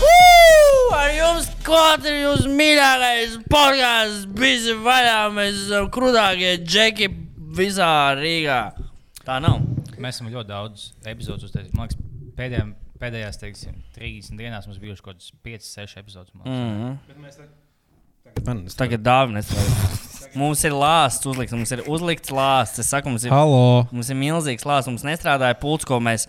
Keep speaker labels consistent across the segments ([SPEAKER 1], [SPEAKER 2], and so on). [SPEAKER 1] Woo! Ar jums klāt ir jūsu mīļākais podkāsts, bija vaļā. Mēs esam krūtākie džeki visā Rīgā. Tā nav.
[SPEAKER 2] Mēs esam ļoti daudz epizodes uztaisījuši. Man liekas, pēdējā, pēdējās teiksim, 30 dienās mums bija kaut kāds 5, 6 epizodes. Man liekas,
[SPEAKER 3] Man, es
[SPEAKER 1] Tagad dāvanas. Mums ir lāsts uzlikts, mums ir uzlikts lāsts. Es saku, mums ir,
[SPEAKER 3] Halo!
[SPEAKER 1] mums ir milzīgs lāsts, mums nestrādāja pults, ko mēs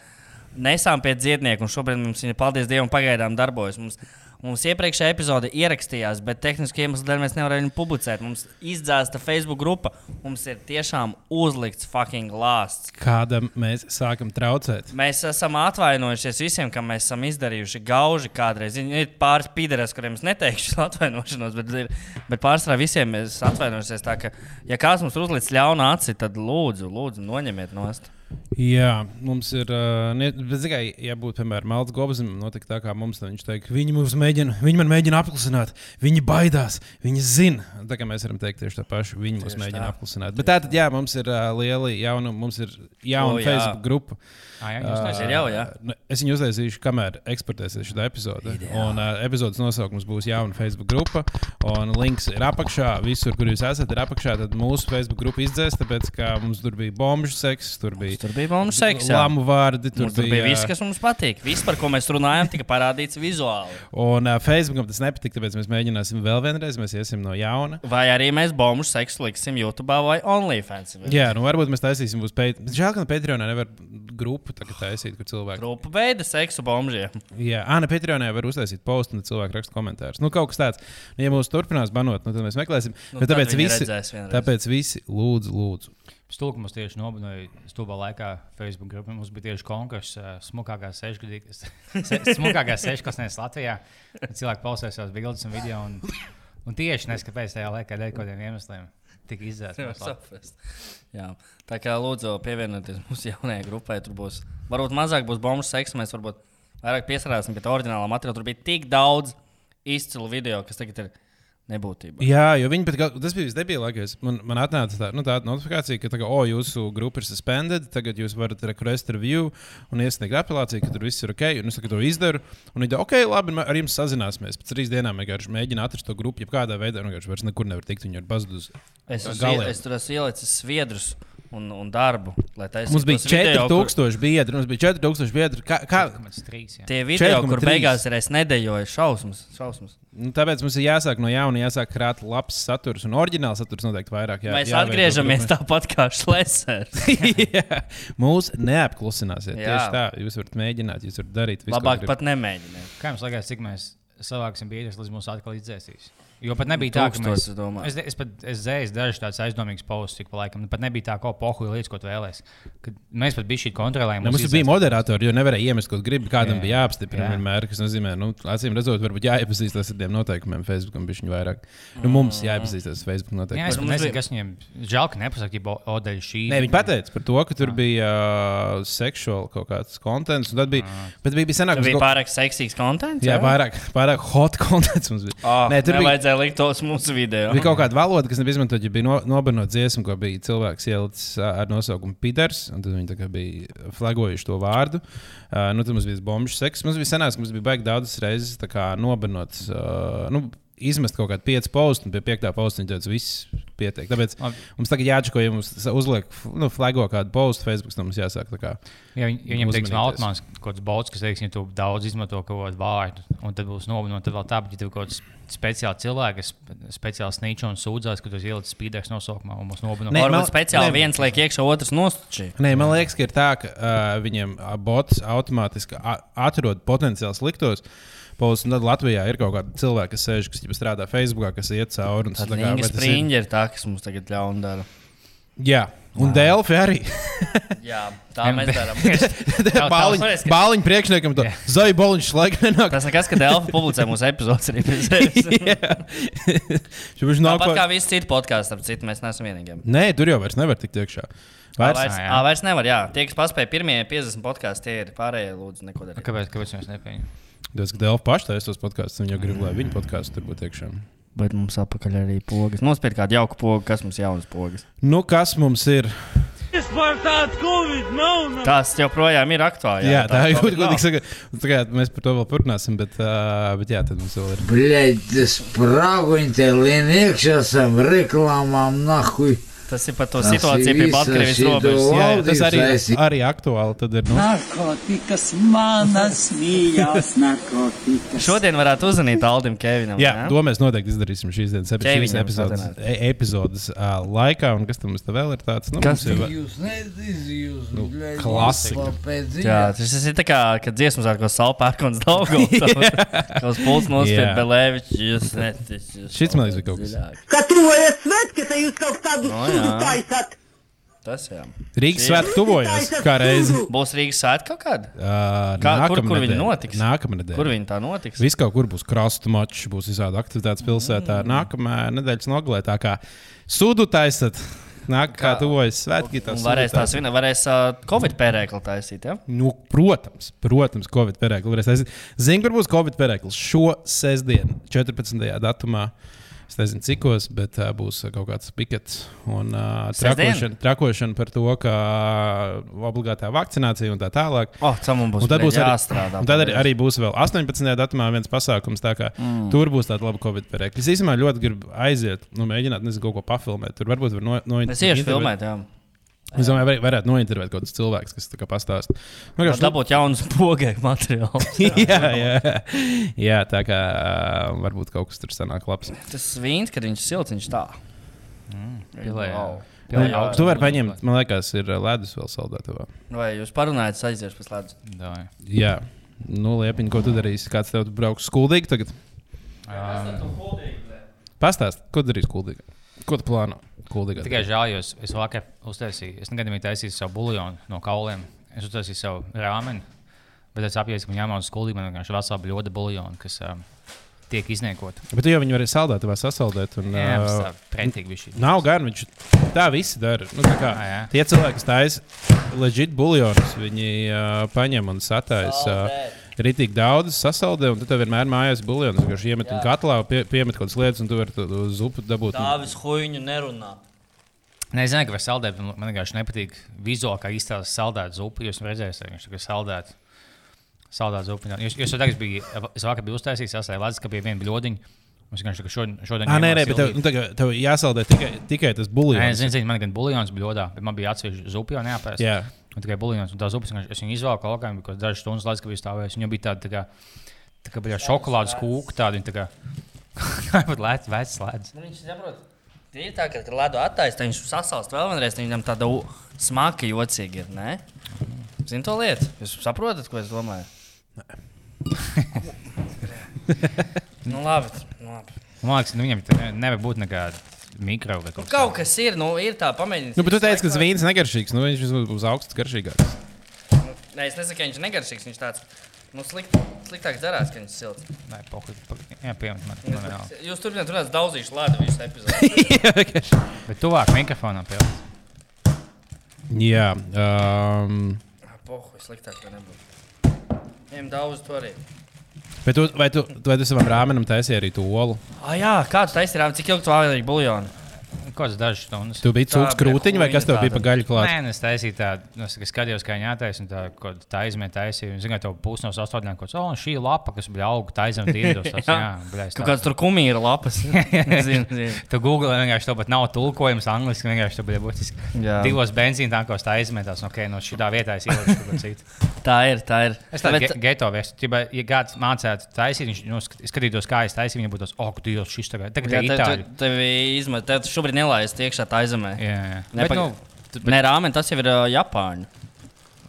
[SPEAKER 1] nesām pie dziednieku, un šobrīd mums viņa, paldies Dievam, pagaidām darbojas. Mums, mums iepriekšējā epizode ierakstījās, bet tehniski iemeslu dēļ mēs nevarējām viņu publicēt. Mums izdzēsta Facebook grupa, mums ir tiešām uzlikts fucking lāsts.
[SPEAKER 3] Kādam mēs sākam traucēt?
[SPEAKER 1] Mēs esam atvainojušies visiem, kam mēs esam izdarījuši gauži kādreiz. Zini, Ir pāris pīderes, kuriem es neteikšu atvainošanos, bet, ir, bet pārsvarā visiem es atvainojušos. Tā ka, ja kāds mums uzlicis ļaunu aci, tad lūdzu, lūdzu noņemiet no stūra.
[SPEAKER 3] Jā, mums ir. Uh, ne, bet, zini, kā, ja būtu, piemēram, Melns Gobsam, notika tā, kā mums tad viņš teica, viņi mums mēģina, viņi man mēģina apklusināt, viņi baidās, viņi zina. Tā kā mēs varam teikt tieši to pašu, viņi mūs mēģina apklusināt. Bet tā tad, jā, mums ir uh, liela jauna, mums ir
[SPEAKER 1] O,
[SPEAKER 3] jauna oh,
[SPEAKER 1] jā.
[SPEAKER 3] Facebook grupa.
[SPEAKER 2] Ā, jā, jūs nezināt.
[SPEAKER 1] ir jau, jā?
[SPEAKER 3] nu, Es viņu uztaisīšu, kamēr eksportēsies šī epizode. Un uh, epizodes nosaukums būs jauna Facebook grupa. Un links ir apakšā. Visur, kur jūs esat, ir apakšā. Tad mūsu Facebook grupa izdzēs, tāpēc ka mums tur bija bombu sekss, tur bija
[SPEAKER 1] Tur bija mums seks. jā.
[SPEAKER 3] lamu vārdi. Tur
[SPEAKER 1] Mums Tur bija viss, kas mums patīk. Viss, par ko mēs runājam, tika parādīts vizuāli.
[SPEAKER 3] Un uh, Facebookam tas nepatika, tāpēc mēs mēģināsim vēl vienreiz. Mēs iesim no jauna.
[SPEAKER 1] Vai arī mēs bombuļus seksu liksim YouTube vai OnlyFans.
[SPEAKER 3] Jā, nu varbūt mēs taisīsim uz Patreon. Žēl, ka no Patreonā nevar grupu tā kā taisīt, kur cilvēki
[SPEAKER 1] Grupa beida seksu bombuļiem.
[SPEAKER 3] Jā, Anna Patreonē var uztaisīt postu, un tad cilvēki raksta komentārus. Nu, kaut kas tāds. Nu, ja mūs turpinās banot, nu, tad mēs meklēsim.
[SPEAKER 1] Nu,
[SPEAKER 3] Nu, bet
[SPEAKER 1] tad
[SPEAKER 3] tāpēc
[SPEAKER 1] viņi
[SPEAKER 3] visi,
[SPEAKER 1] redzēs vienreiz.
[SPEAKER 3] tāpēc visi lūdzu, lūdzu.
[SPEAKER 2] Stulka mums tieši nobinoja stulbā laikā Facebook grupā. Mums bija tieši konkurss ā, smukākā sešgadīgās, se- smukākā sešklasnēs Latvijā. Un Cilvēki pausēs savas bildes un video. Un, un tieši neskaidrs tajā laikā dēļ kaut kādiem iemesliem. Tik izdzēsts.
[SPEAKER 1] saprast. Jā. Tā kā lūdzu, pievienojieties mūsu jaunajai grupai. Tur būs varbūt mazāk būs bombu seksa, mēs varbūt vairāk piesarāsim pie tā oriģinālā materiāla. Tur bija tik daudz izcilu video, kas tagad ir nebūtība.
[SPEAKER 3] Jā, jo viņi pat, gal- tas bija visdebilākais. Man, man atnāca tā, nu, tāda notifikācija, ka, tā kā, o, jūsu grupa ir suspendēta, tagad jūs varat rekrutēt review un iesniegt apelāciju, ka tur viss ir ok. Un es tā kā to izdaru. Un viņi teica, ok, labi, mē- ar jums sazināsimies. Pēc trīs dienām vienkārši mēģina atrast to grupu, jebkādā veidā. Un vienkārši vairs nekur nevar tikt, viņi ir pazudusi.
[SPEAKER 1] Es, uz,
[SPEAKER 3] galiem.
[SPEAKER 1] es tur esmu ielicis sviedrus un, un darbu, lai taisītu.
[SPEAKER 3] Mums bija
[SPEAKER 1] tos video, kur-
[SPEAKER 3] 4000 biedru, mums bija 4000 biedru. Kā, kā,
[SPEAKER 2] Trīs.
[SPEAKER 1] Tie video, kur
[SPEAKER 3] 4,3.
[SPEAKER 1] beigās ir es nedēļoju, šausmas. šausmas.
[SPEAKER 3] Nu, tāpēc mums ir jāsāk no jauna, jāsāk krāt labs saturs un oriģināls saturs noteikti vairāk. Jā,
[SPEAKER 1] Jā, Mēs jā,
[SPEAKER 3] jāveido
[SPEAKER 1] atgriežamies
[SPEAKER 3] grupē.
[SPEAKER 1] tāpat kā šlēsēs.
[SPEAKER 3] jā, mūs neapklusināsiet.
[SPEAKER 1] Jā.
[SPEAKER 3] Jā. Tieši tā, jūs varat mēģināt, jūs varat darīt visu.
[SPEAKER 1] Labāk pat nemēģināt.
[SPEAKER 2] Kā jums liekas, cik mēs savāksim biedrus, līdz mūsu atkal izdzēsīs? Jo pat nebija tā, ka
[SPEAKER 1] Tūkstotis,
[SPEAKER 2] mēs.
[SPEAKER 1] es domāju.
[SPEAKER 2] Es, es pat es dzēsu dažus tādus aizdomīgus postus, cik pa laikam. nu, Pat nebija tā, ko pohuļu līdz ko tu vēlēs. Kad mēs pat bijām šī kontrolējuma.
[SPEAKER 3] Ne, Nu, mums bija moderatori, jo nevarēja iemest, ko gribi.
[SPEAKER 2] Jā.
[SPEAKER 3] Kādam jā, bija jāapstiprina
[SPEAKER 2] Jā.
[SPEAKER 3] jā. vienmēr, kas nozīmē, nu, acīm redzot, varbūt jāiepazīstas ar tiem noteikumiem Facebookam, bišķiņu vairāk. Nu, mums
[SPEAKER 1] Mm.
[SPEAKER 3] jāiepazīstas ar Facebooku
[SPEAKER 2] Jā,
[SPEAKER 3] noteikumiem.
[SPEAKER 2] es pat
[SPEAKER 1] Mums
[SPEAKER 2] nezinu,
[SPEAKER 1] bija-
[SPEAKER 2] kas viņiem žēl, ka nepasaka, ka Odeļa šī.
[SPEAKER 3] Nē, viņi pateica par to, ka tur bija uh, seksuāls kaut kāds konteksts. Tad bija, bet bija, bija senāk,
[SPEAKER 1] Tas bija
[SPEAKER 3] kaut-
[SPEAKER 1] pārāk seksīgs konteksts.
[SPEAKER 3] Jā, pārāk, pārāk hot konteksts mums bija.
[SPEAKER 2] Ah,
[SPEAKER 1] Oh,
[SPEAKER 3] Nē, tur bija,
[SPEAKER 1] vajadzēja likt tos mūsu video.
[SPEAKER 3] bija kaut kāda valoda, kas nebija izmantota. Ja bija no, nobarnota dziesma, ko bija cilvēks ielicis ā, ar nosaukumu Piters, un tad viņi tā kā bija flagojuši to vārdu. Uh, nu, tad mums bija bombuļs seks. Mums bija senās, ka mums bija baigi daudzas reizes tā kā nobarnots. Uh, nu, Izmest kaut kādu piecu postu, un pie piektā posta viņa teica, viss pietiek. Tāpēc
[SPEAKER 2] Labi.
[SPEAKER 3] mums tagad jāatšķiro, ja mums sa- uzliek, f- nu, flago kādu postu Facebook, tad mums jāsāk tā kā.
[SPEAKER 2] Ja viņi- ja viņiem teiks, ka
[SPEAKER 3] Uzmanieties.
[SPEAKER 2] Altmans kaut kāds bots, kas teiks, ja tu daudz izmanto kaut kādu vārdu, un tad būs nobijusies, tad vēl tā, bet ja tev kaut kāds speciāls cilvēks, kas speciāli snīčo un sūdzās, ka tu esi ielicis spīdēks nosaukumā un mums
[SPEAKER 3] Nē,
[SPEAKER 2] nobijās.
[SPEAKER 1] Varbūt
[SPEAKER 3] man-
[SPEAKER 1] speciāli
[SPEAKER 3] nē.
[SPEAKER 1] viens liek iekšā, otrs nostučī.
[SPEAKER 3] Nē, man liekas, ka ir tā, ka uh, viņiem ā, bots automātiski a- atrod potenciāli sliktos. Pols, un tad Latvijā ir kaut kāda cilvēka, kas sēž, kas ģipa strādā Facebookā, kas iet cauri. un tas
[SPEAKER 1] Tad
[SPEAKER 3] tā kā,
[SPEAKER 1] Inga
[SPEAKER 3] vai tas ir-
[SPEAKER 1] Springer ir tā, kas mums tagad ļaun dara.
[SPEAKER 3] Jā, un Dēlķis arī.
[SPEAKER 1] Jā, tā
[SPEAKER 2] mēs
[SPEAKER 1] mēs
[SPEAKER 2] darām. tā
[SPEAKER 1] darām.
[SPEAKER 3] Bāliņš,
[SPEAKER 1] uzreiz, ka-
[SPEAKER 3] bāliņš priekšniekam to zvaigžņu boliņš laika nenāk.
[SPEAKER 1] Tas nekas, ka Delfa publicē mūsu epizodus arī pie sevis.
[SPEAKER 3] Viņš nav
[SPEAKER 1] Tāpat kā
[SPEAKER 3] kaut kā.
[SPEAKER 1] visi citi podkāsti, ap citu mēs neesam vienīgie.
[SPEAKER 3] Nē, tur jau vairs nevar tikt iekšā.
[SPEAKER 1] Ā,
[SPEAKER 3] Vairs.
[SPEAKER 1] Vairs,
[SPEAKER 2] jā.
[SPEAKER 1] ā, vairs nevar, jā. Tie, kas paspēja pirmie 50 podkāstu, tie ir pārējie, lūdzu, neko darīt.
[SPEAKER 2] Kāpēc, kāpēc mēs nepieņemam?
[SPEAKER 3] Tas, ka Dēlķis pašai taisa tos podkāstus, viņa grib, lai viņa podkāsts tur būtu iekšā.
[SPEAKER 1] Bet mums apakaļ arī pogas. Nospied kādu jauku pogu, kas mums jaunas pogas.
[SPEAKER 3] Nu, kas mums ir?
[SPEAKER 4] This Vispār tāds Covid nav. nav.
[SPEAKER 1] Tas joprojām ir aktuāli.
[SPEAKER 3] Jā, tā ir
[SPEAKER 1] Covid nav.
[SPEAKER 3] gudīgi sakot. Tā kā mēs par to vēl parunāsim, bet, uh, bet jā, tad mums vēl ir.
[SPEAKER 5] Блять, справу интерлинек сейчас в рекламам нахуй.
[SPEAKER 1] Tas ir par to
[SPEAKER 5] Tas ir
[SPEAKER 1] situāciju pie
[SPEAKER 5] visa
[SPEAKER 1] Baltkrievis
[SPEAKER 5] šī
[SPEAKER 1] robežas.
[SPEAKER 5] doma.
[SPEAKER 3] Jā, jā, tas arī,
[SPEAKER 5] Valdības
[SPEAKER 3] arī aktuāli. Tad ir nu,
[SPEAKER 6] Narkotikas manas mīļās, narkotikas.
[SPEAKER 1] Šodien varētu uzzvanīt Aldim Kevinam.
[SPEAKER 3] Jā,
[SPEAKER 1] ne?
[SPEAKER 3] to mēs noteikti izdarīsim šīs dienas
[SPEAKER 1] Ķēviņam
[SPEAKER 3] šīs epizodes,
[SPEAKER 1] sadarēt.
[SPEAKER 3] e- epizodes uh, laikā. Un kas tur mums te vēl ir tāds? Nu,
[SPEAKER 1] Kas
[SPEAKER 3] mums ir?
[SPEAKER 5] Jūs neizjūs, blēģi,
[SPEAKER 3] klasika.
[SPEAKER 1] Jā, tas tas ir tā kā, kad dziesmu sākumā salpērkons Daugavs. Kaut pults nospied
[SPEAKER 3] Jā.
[SPEAKER 1] Belēvičs, jūs netis.
[SPEAKER 3] Šis man liekas bija kaut kas.
[SPEAKER 7] Kā tuvojas svētki, tad jūs kaut kādu
[SPEAKER 1] No
[SPEAKER 7] no,
[SPEAKER 1] jā.
[SPEAKER 7] sūdu taisat.
[SPEAKER 1] Tas jā.
[SPEAKER 3] Rīgas svētki tuvojas kā reizi.
[SPEAKER 1] Būs Rīgas sēta kaut kāda?
[SPEAKER 3] Uh,
[SPEAKER 1] Kā- kur- kur
[SPEAKER 3] nākamnedēļ.
[SPEAKER 1] viņi notiks?
[SPEAKER 3] Nākamnedēļ.
[SPEAKER 1] Kur viņi tā notiks?
[SPEAKER 3] Viss kaut kur būs krāsa, mačs, būs visādi aktivitātes pilsētā. Mm. Nākamā nedēļas nogalē tā kā sudu taisat. Nāk, kā
[SPEAKER 1] Kā-
[SPEAKER 3] tuvojas svētki. tā
[SPEAKER 1] Un
[SPEAKER 3] sudu
[SPEAKER 1] varēs
[SPEAKER 3] taisat.
[SPEAKER 1] tās viena, varēs uh, Covid pērēkli taisīt, ja?
[SPEAKER 3] Nu, protams, protams, Covid perēklis varēs aiziet. Zinu, kur būs Covid perēklis šo sestdienu, 14. datumā. Es nezinu, cikos, bet uh, būs ā, kaut kāds pikets un uh,
[SPEAKER 1] Sestdien?
[SPEAKER 3] trakošana, trakošana par to, ka ā, obligātā vakcinācija un tā tālāk.
[SPEAKER 1] Oh, tam mums būs,
[SPEAKER 3] Un tad būs arī,
[SPEAKER 1] jāstrādā.
[SPEAKER 3] un tad arī, arī būs vēl 18. datumā viens pasākums. tā Kā, mm. Tur būs tāda laba Covid perēklis. Es īstenībā ļoti gribu aiziet, nu, mēģināt, nezinu, kaut ko papilnēt. Tur varbūt var no, nointervēt.
[SPEAKER 1] Es iešu filmēt, jā.
[SPEAKER 3] Nu, Es domāju, var, varētu nointervēt kaut kādus cilvēkus, kas tā kā pastāsta. Nu,
[SPEAKER 1] Tad dabūt jaunus pogēku materiālus.
[SPEAKER 3] jā, jā. jā, tā kā uh, varbūt kaut kas tur sanāk labs.
[SPEAKER 1] Tas vīns, kad viņš silts, viņš tā. Mm. Wow.
[SPEAKER 3] Nu, Tu vari paņemt, man liekas, ir ā, ledus vēl saldētavā.
[SPEAKER 1] Vai jūs parunājat, es aiziešu pēc ledus?
[SPEAKER 3] Jā. Nu, liepiņ, ko tu darīsi? Kāds tev brauks skuldīgi tagad? Pastāst, ko darīs skuldīgi? Ko tu plāno? Kuldīgā
[SPEAKER 2] Tikai
[SPEAKER 3] darīt?
[SPEAKER 2] žēl, jo es- es vakar uztaisīju, es negadījumā taisīju savu buļbuļonu no kauliem. Es uztaisīju savu rāmeni, bet es apjēdzu, ka viņam jāmācās skolīgi. Man vienkārši vesela bļoda buļbuļona, kas um, tiek izniekota.
[SPEAKER 3] Bet tu jau viņu vari saldētavā sasaldēt. Un,
[SPEAKER 2] Jā, tas
[SPEAKER 3] ā,
[SPEAKER 2] tā pretīgi bija šī.
[SPEAKER 3] Nav gan, viņš tā visi dara. Nu, tā kā,
[SPEAKER 2] Jā, jā.
[SPEAKER 3] tie cilvēki, kas taisa leģit buļļus, viņi uh, paņem un sataisa. Uh, Ritīgi daudz sasaldē, un tu tev vienmēr mājās buļļus. Viņš vienkārši iemet un katlā, pie, piemet kaut kādas lietas, un tu vari to to zupu dabūt. un-
[SPEAKER 1] Dāvis Huņu nerunā.
[SPEAKER 2] Nē, es nezinu, ka var saldēt, bet man vienkārši nepatīk vizuāli, kā izstāsta saldēta zupa. Jūs redzēsiet, ka viņš ir saldēts. Saldēta zupa. nav. Jūs, jūs jau tagad bijāt, es vakar biju uztaisījis, sasēju ledus, ka bija viena bļodiņa. Mums vienkārši tā kā šodien, šodien
[SPEAKER 3] Ā,
[SPEAKER 2] ņēmās
[SPEAKER 3] nē, nē, bet tev,
[SPEAKER 2] sildīt.
[SPEAKER 3] nu, tev, tev jāsaldē tikai, tikai
[SPEAKER 2] Nē,
[SPEAKER 3] tas
[SPEAKER 2] es
[SPEAKER 3] buļļus.
[SPEAKER 2] zinu, zinu, man gan buļbuļons bija ļodā, bet man bija atsevišķi zupa jau neapēst.
[SPEAKER 3] Jā.
[SPEAKER 2] Un tikai buļbuļons un tā zupa, vienkārši- es viņu izvēlu kaut kādiem, kas dažas stundas laiks, kad bija stāvējis. Viņam bija tāda, tā kā, tā kā bija šokolādes kūka, tāda, viņa tā kā, kā pat lēts, vecs lēts.
[SPEAKER 1] Nu, Viņš saprot. Ir tā, ka, kad ledu attaisno, tad viņš sasalst vēl vienreiz. tad Viņam tāda u- smaka jocīga ir. Ne? Zinu to lietu. Jūs saprotat, ko es domāju? nu, labi. nu labi.
[SPEAKER 2] Man liekas, nu, viņam tā ne- nevar būt nekāda mikro vai kaut
[SPEAKER 1] Kaut kas ir, nu, ir tā, pamēģiniet.
[SPEAKER 3] Nu, bet tu teici, ka zvīns negaršīgs, nu viņš vismaz būs augsts garšīgāks.
[SPEAKER 1] Nē, es nesaku, ka viņš ir negaršīgs. Viņš tāds nu, slikt, sliktāks darās, ka viņš ir silts.
[SPEAKER 2] Nē, pohuļ, pohuļ. Nu, Jā, pieņemt, man, man nav.
[SPEAKER 1] Jūs turpināt, turpināt, daudzīšu lēdu visu epizodu.
[SPEAKER 2] Bet tuvāk mikrofonam pieņemt.
[SPEAKER 3] Jā, um,
[SPEAKER 1] Ah, Pohu, sliktāk tā nebūtu. Ņem daudz to arī.
[SPEAKER 3] bet tu, vai, tu, vai tu savam rāmenam taisīji arī to olu?
[SPEAKER 1] Ah, jā, kāds taisnība, cik ilgi tu vēl biji buļļonā?
[SPEAKER 2] Kaut kas dažas stundas.
[SPEAKER 3] Tu biji
[SPEAKER 1] Tā
[SPEAKER 3] cūks
[SPEAKER 1] bija
[SPEAKER 3] krūtiņš vai kas tev
[SPEAKER 1] huīņa
[SPEAKER 3] bija pa gaļu klāt?
[SPEAKER 2] Nē, nu, es taisīju tādu, nu, es skatījos, kā viņa taisīja, un tā, ko tā izmēra taisīja. Zinu, ka tev pusi no astoņiem kaut kas, oh, un šī lapa, kas bija auga, tā izmēra tīrdos. Tas, jā, bļais,
[SPEAKER 1] Kaut kāds tur kumīra lapas. Zinu, zinu.
[SPEAKER 2] Tu googlē, vienkārši tev pat nav tulkojums angļuiski, vienkārši tev bija būtiski.
[SPEAKER 1] Jā.
[SPEAKER 2] Divos benzīna tankos tā izmetās, no okay, no šī vietā es ielieku kaut ko citu.
[SPEAKER 1] Tā ir, tā ir.
[SPEAKER 2] Es tādu
[SPEAKER 1] Bet-
[SPEAKER 2] ge- geto vēstu, Tībā, ja kāds mācētu taisīt, viņš nu, skat- skatītos, kā es taisīju, viņam būtu tas, oh, kur Dievs, šis tagad. Tagad
[SPEAKER 1] Jā,
[SPEAKER 2] ir
[SPEAKER 1] tev, tev,
[SPEAKER 2] itāļu.
[SPEAKER 1] tev izmet, tev šobrīd nelaist iekšā tā zemē.
[SPEAKER 2] Jā, jā. Bet,
[SPEAKER 1] Nepag...
[SPEAKER 2] nu,
[SPEAKER 1] Bet... Nē, rāmen tas jau ir uh, Japāņu.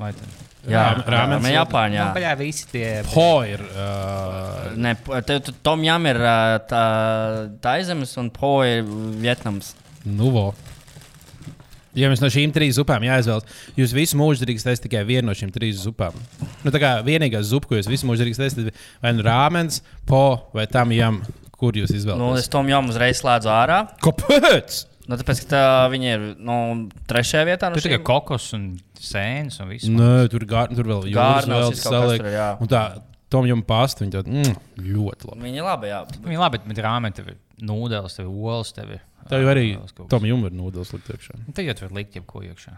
[SPEAKER 2] vai tā?
[SPEAKER 1] Jā,
[SPEAKER 3] Rā- rāmens
[SPEAKER 1] rāmen Japāņu.
[SPEAKER 2] Jā,
[SPEAKER 1] Jā.
[SPEAKER 2] paļā Nu, visi tie.
[SPEAKER 3] Po ir. Uh,
[SPEAKER 1] Nē, p- tev tu- Tom Jam ir uh, tā, tā zemes un Po ir Vietnams.
[SPEAKER 3] nu, vo. Ja jums no šīm trim zupām jāizvēlas, jūs visu mūžu drīkst ēst tikai vienu no šīm trim zupām. Nu, tā kā vienīgā zupa, ko jūs visu mūžu drīkst ēst, ir vai nu rāmens, po vai tam jām, kur jūs
[SPEAKER 1] Nu, es
[SPEAKER 3] izvēlaties.
[SPEAKER 1] Tom Jam uzreiz slēdzu ārā.
[SPEAKER 3] Nu, Kāpēc?
[SPEAKER 1] Nu, tāpēc, ka tā, viņi ir nu, trešajā vietā. Nu,
[SPEAKER 2] Tur tikai kokos un sēnes un
[SPEAKER 1] Mm.
[SPEAKER 2] viss.
[SPEAKER 3] Nē, tur, gār, tur vēl
[SPEAKER 1] Gārnās
[SPEAKER 3] jūras vēl
[SPEAKER 1] viss kaut kas
[SPEAKER 3] saliek.
[SPEAKER 1] tur, jā.
[SPEAKER 3] Un tā, tom jām pasta, viņa tāda mm, ļoti labi.
[SPEAKER 1] Viņi ir labi. Jā.
[SPEAKER 2] Viņa labi, bet rāmē tev ir nūdeles, tev ir olas, tev ir.
[SPEAKER 3] Tā jau arī
[SPEAKER 2] Vēl kaut kas.
[SPEAKER 3] tam jums var nodot slikt iekšā.
[SPEAKER 2] Nu, Tad jau tur var likt jebko iekšā.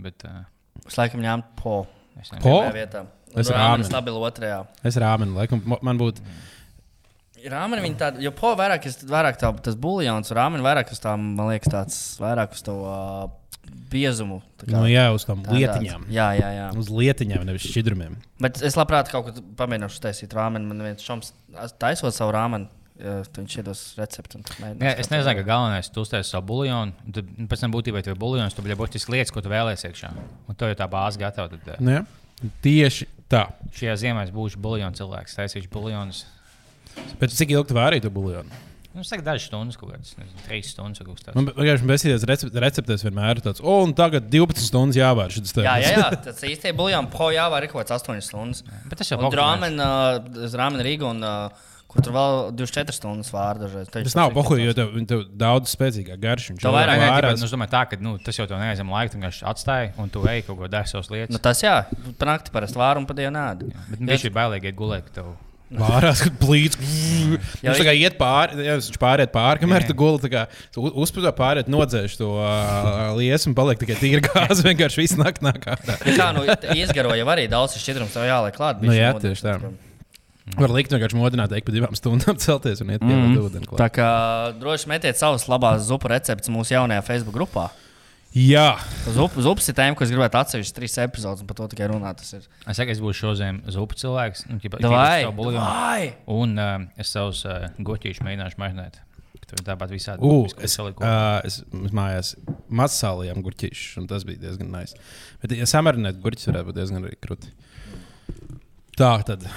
[SPEAKER 2] Bet, uh,
[SPEAKER 1] Es laikam ņēmu po.
[SPEAKER 2] es nezinu.
[SPEAKER 3] Po?
[SPEAKER 1] Pirmajā vietā.
[SPEAKER 3] Es
[SPEAKER 1] Rāmeni
[SPEAKER 3] rāmeni.
[SPEAKER 1] stabilu otrajā.
[SPEAKER 3] Es rāmenu, laikam, mo- man būtu.
[SPEAKER 1] Rāmeni viņa tāda, jo po vairāk, es, vairāk tā, tas buļļons, rāmeni vairāk uz tām, man liekas, tāds vairāk uz to uh, biezumu. tā kā
[SPEAKER 3] Nu, jā, uz tām
[SPEAKER 1] tādā-
[SPEAKER 3] lietiņām.
[SPEAKER 1] Jā, jā, jā.
[SPEAKER 3] Uz lietiņām, nevis šķidrumiem.
[SPEAKER 1] Bet es labprāt kaut kad pamēģināšu taisīt rāmeni. Man viens šoms taisot savu rāmeni, eh, tad viņš iedos recepti. un tad mēģināšu
[SPEAKER 2] Nē, es
[SPEAKER 1] katru
[SPEAKER 2] nezinu, ka galvenais ir uztaisīt savu buļbuļonu. Tad nu, pēc tam būtībā tev ir buļbuļons, tu būsi tas lietas, ko tu vēlēsies iekšā. Un tev jau tā bāze gatava. Tad, eh,
[SPEAKER 3] Nu, jā. Tieši tā.
[SPEAKER 2] šajā ziemā es būšu buļbuļons cilvēks, taisīšu buļbuļons.
[SPEAKER 3] Bet cik ilgi tu vārīji to buļbuļonu?
[SPEAKER 2] Nu, saka, dažas stundas, kaut kādas nezinu, trīs stundas. kaut kas tāds.
[SPEAKER 3] Man vienkārši besīties receptēs vienmēr ir tāds, o, un tagad 12 stundas jāvār šis
[SPEAKER 1] Jā, jā, jā, tas īstenībā buļbuļsaktas po jau ir kaut kāds 8 stundas.
[SPEAKER 2] Bet tas jau
[SPEAKER 1] ir
[SPEAKER 2] kaut kāds.
[SPEAKER 1] grāmatā, grāmatā Rīgā, un uh, kur tur vēl 24 stundas vārdu dažreiz.
[SPEAKER 3] Tas nav pohuļi, jo tev, tev daudz spēcīgāk garš. Viņš
[SPEAKER 1] Tev
[SPEAKER 3] jau
[SPEAKER 2] Nē,
[SPEAKER 1] vairāk
[SPEAKER 2] nē,
[SPEAKER 3] vārās.
[SPEAKER 2] tāpēc, nu, Es domāju, tā, ka nu, tas jau tev neaizņem laiku, tu vienkārši atstāji un tu ej kaut ko dari savas
[SPEAKER 1] Nu,
[SPEAKER 2] lietas.
[SPEAKER 1] tas jā, pa nakti parasti vāru un padēju nādu.
[SPEAKER 2] Bet viņš ir bailīgi iet gulēt. ka Tev...
[SPEAKER 3] Vārās, kad plīts.
[SPEAKER 1] Jā,
[SPEAKER 3] Viņš tā kā iet pāri, jā, viņš pāriet pāri, kamēr tu guli. tā kā tu u- Uzpūtā pāriet, nodzēš to ā, liesu un paliek tikai tīra gāze. Vienkārši viss nāk nāk ārā.
[SPEAKER 1] Ja kā nu, iesgaroja arī daudz šķidrums, tev jāliek klāt.
[SPEAKER 3] Nu,
[SPEAKER 1] bišķi
[SPEAKER 3] jā,
[SPEAKER 1] ūdens.
[SPEAKER 3] tieši tā. Var likt vienkārši modināt, teikt, pa divām stundām celties un iet pie mm. ūdeni.
[SPEAKER 1] Tā
[SPEAKER 3] klāt.
[SPEAKER 1] kā droši metiet savas labās zupu receptes mūsu jaunajā Facebook grupā.
[SPEAKER 3] Jā,
[SPEAKER 1] Zupas ir tēma, ko es gribētu atsevišķi trīs epizodus, un par to tikai runāt. Tas ir.
[SPEAKER 2] Es saku, es būšu šodien zupu cilvēks. Nu, ķipa,
[SPEAKER 1] Davai,
[SPEAKER 2] ķipa savu buļbuļonu.
[SPEAKER 1] davai!
[SPEAKER 2] Un uh, es savus uh, gotīšus mēģināšu marinēt. Tur ir tāpat visādi.
[SPEAKER 3] U,
[SPEAKER 2] būtiski,
[SPEAKER 3] es,
[SPEAKER 1] uh,
[SPEAKER 2] saliku.
[SPEAKER 3] ā, es, es mājās mazsālījām gurķīšus, un tas bija diezgan nice. Bet, ja samarināt gurķus, varētu būt diezgan arī krūti. Tā tad,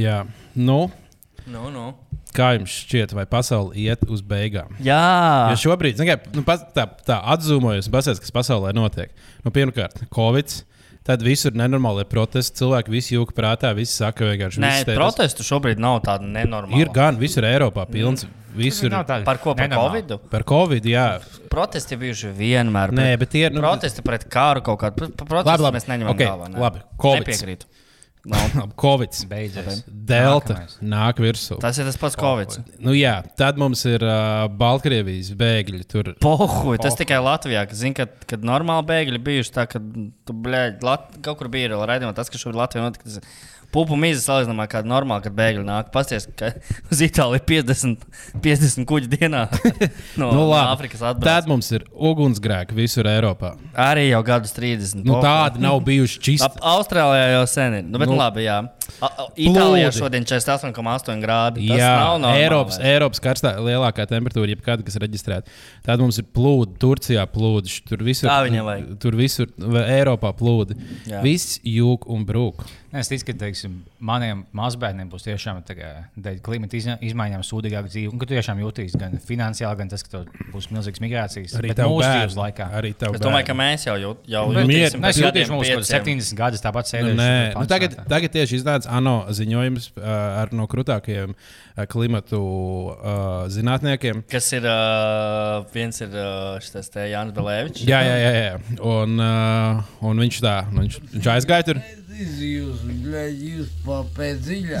[SPEAKER 3] jā. Nu,
[SPEAKER 1] Nu, nu.
[SPEAKER 3] kā jums šķiet, vai pasaule iet uz beigām?
[SPEAKER 1] Jā,
[SPEAKER 3] Ja šobrīd, zin kā, nu, pas, tā, tā atzūmojos, pasies, kas pasaulē notiek. Nu, pirmkārt, Covid. Tad visur ir nenormāli protesti. Cilvēki visi jūka prātā, visi saka, vienkārši
[SPEAKER 1] Nē,
[SPEAKER 3] viss te- tas-
[SPEAKER 1] protestu šobrīd nav tāda nenormāla.
[SPEAKER 3] Ir gan visur Eiropā pilns. Visur.
[SPEAKER 2] Nav tāda
[SPEAKER 1] Par ko? Par
[SPEAKER 2] nenormāla.
[SPEAKER 1] Covid?
[SPEAKER 3] Par Covid, jā.
[SPEAKER 1] Protesti bijuši vienmēr.
[SPEAKER 3] Nē,
[SPEAKER 1] pret-
[SPEAKER 3] bet tie ir. Nu,
[SPEAKER 1] Protesti pret kāru kaut kādu. Protesti
[SPEAKER 3] Labi, labi.
[SPEAKER 1] mēs neņemam
[SPEAKER 3] Okei,
[SPEAKER 1] galvā. nē.
[SPEAKER 3] labi. Covid.
[SPEAKER 1] Nepiekrītu. Nu,
[SPEAKER 3] Covid.
[SPEAKER 2] Beidzies.
[SPEAKER 3] Delta
[SPEAKER 2] Nākamais.
[SPEAKER 3] nāk virsū.
[SPEAKER 1] Tas ir tas pats Covid.
[SPEAKER 3] Nu, jā, tad mums ir uh, Baltkrievijas bēgļi. Tur
[SPEAKER 1] Pohuj, tas tikai Latvijā. ka Zini, kad, kad normāli bēgļi bijuši tā, ka tu, blēģi, Lat... kaut kur bija arī redzama tas, kas šobrīd Latvijā notika. Tas... Pupu mīza salīdzinājumā, kāda normāla, kad bēgļi nāk. Pasties, ka uz Itāliju 50, 50 kuģi dienā no,
[SPEAKER 3] nu,
[SPEAKER 1] no
[SPEAKER 3] labi.
[SPEAKER 1] Āfrikas atbrauc.
[SPEAKER 3] Tad mums ir ugunsgrēki visur Eiropā.
[SPEAKER 1] Arī jau gadus 30.
[SPEAKER 3] Nu,
[SPEAKER 1] Pohuj.
[SPEAKER 3] tādi nav bijuši
[SPEAKER 1] Ap,
[SPEAKER 3] čisti.
[SPEAKER 1] Austrālijā jau sen ir. Nu, bet,
[SPEAKER 3] Nu.
[SPEAKER 1] nu, labi, jā. A, a, Itālijā
[SPEAKER 3] Plūdi.
[SPEAKER 1] šodien 48,8 grādi. Tas
[SPEAKER 3] Jā,
[SPEAKER 1] nav normāli.
[SPEAKER 3] Eiropas, Eiropas karstā lielākā temperatūra, jebkāda, kas ir reģistrēta. Tad mums ir plūdi, Turcijā plūdi, tur visur,
[SPEAKER 1] Tā viņiem vajag.
[SPEAKER 3] tur visur vai Eiropā plūdi.
[SPEAKER 1] Jā.
[SPEAKER 3] Viss jūg un brūk.
[SPEAKER 2] Nē, Es ticu, ka teiksim, maniem mazbērniem būs tiešām tā kā dēļ klimata izņa- izmaiņām sūdīgāka dzīve. Un ka tu tiešām jūtīsi gan finansiāli, gan tas, ka tev būs milzīgs migrācijas
[SPEAKER 3] Arī
[SPEAKER 2] bet
[SPEAKER 3] tev
[SPEAKER 2] mūsu
[SPEAKER 3] bērni.
[SPEAKER 2] dzīves laikā. Nu,
[SPEAKER 3] Arī tev
[SPEAKER 1] Es domāju, ka
[SPEAKER 3] bērni. Nu,
[SPEAKER 1] mēs jau jūt- jau
[SPEAKER 3] Bet-
[SPEAKER 1] jutīsim
[SPEAKER 2] Nē, Es
[SPEAKER 1] pēc
[SPEAKER 2] jūtos
[SPEAKER 1] gadiem
[SPEAKER 2] mums kaut kāds
[SPEAKER 1] pieciem.
[SPEAKER 2] 70 gadus tāpat
[SPEAKER 3] Nu,
[SPEAKER 2] sēdēšu.
[SPEAKER 3] Nē, nu,
[SPEAKER 2] pancētā.
[SPEAKER 3] tagad, tagad tieši iznāca ANO ziņojums uh, ar no krūtākajiem uh, klimatu uh, zinātniekiem.
[SPEAKER 1] Kas ir uh, viens ir uh, šis te Jānis Belēvičs.
[SPEAKER 3] Jā, jā, jā. jā. Un, uh, un viņš tā, nu, viņš, viņš aizgāja tur.
[SPEAKER 5] Izjūs, bļaļ, jūs papēdziļā.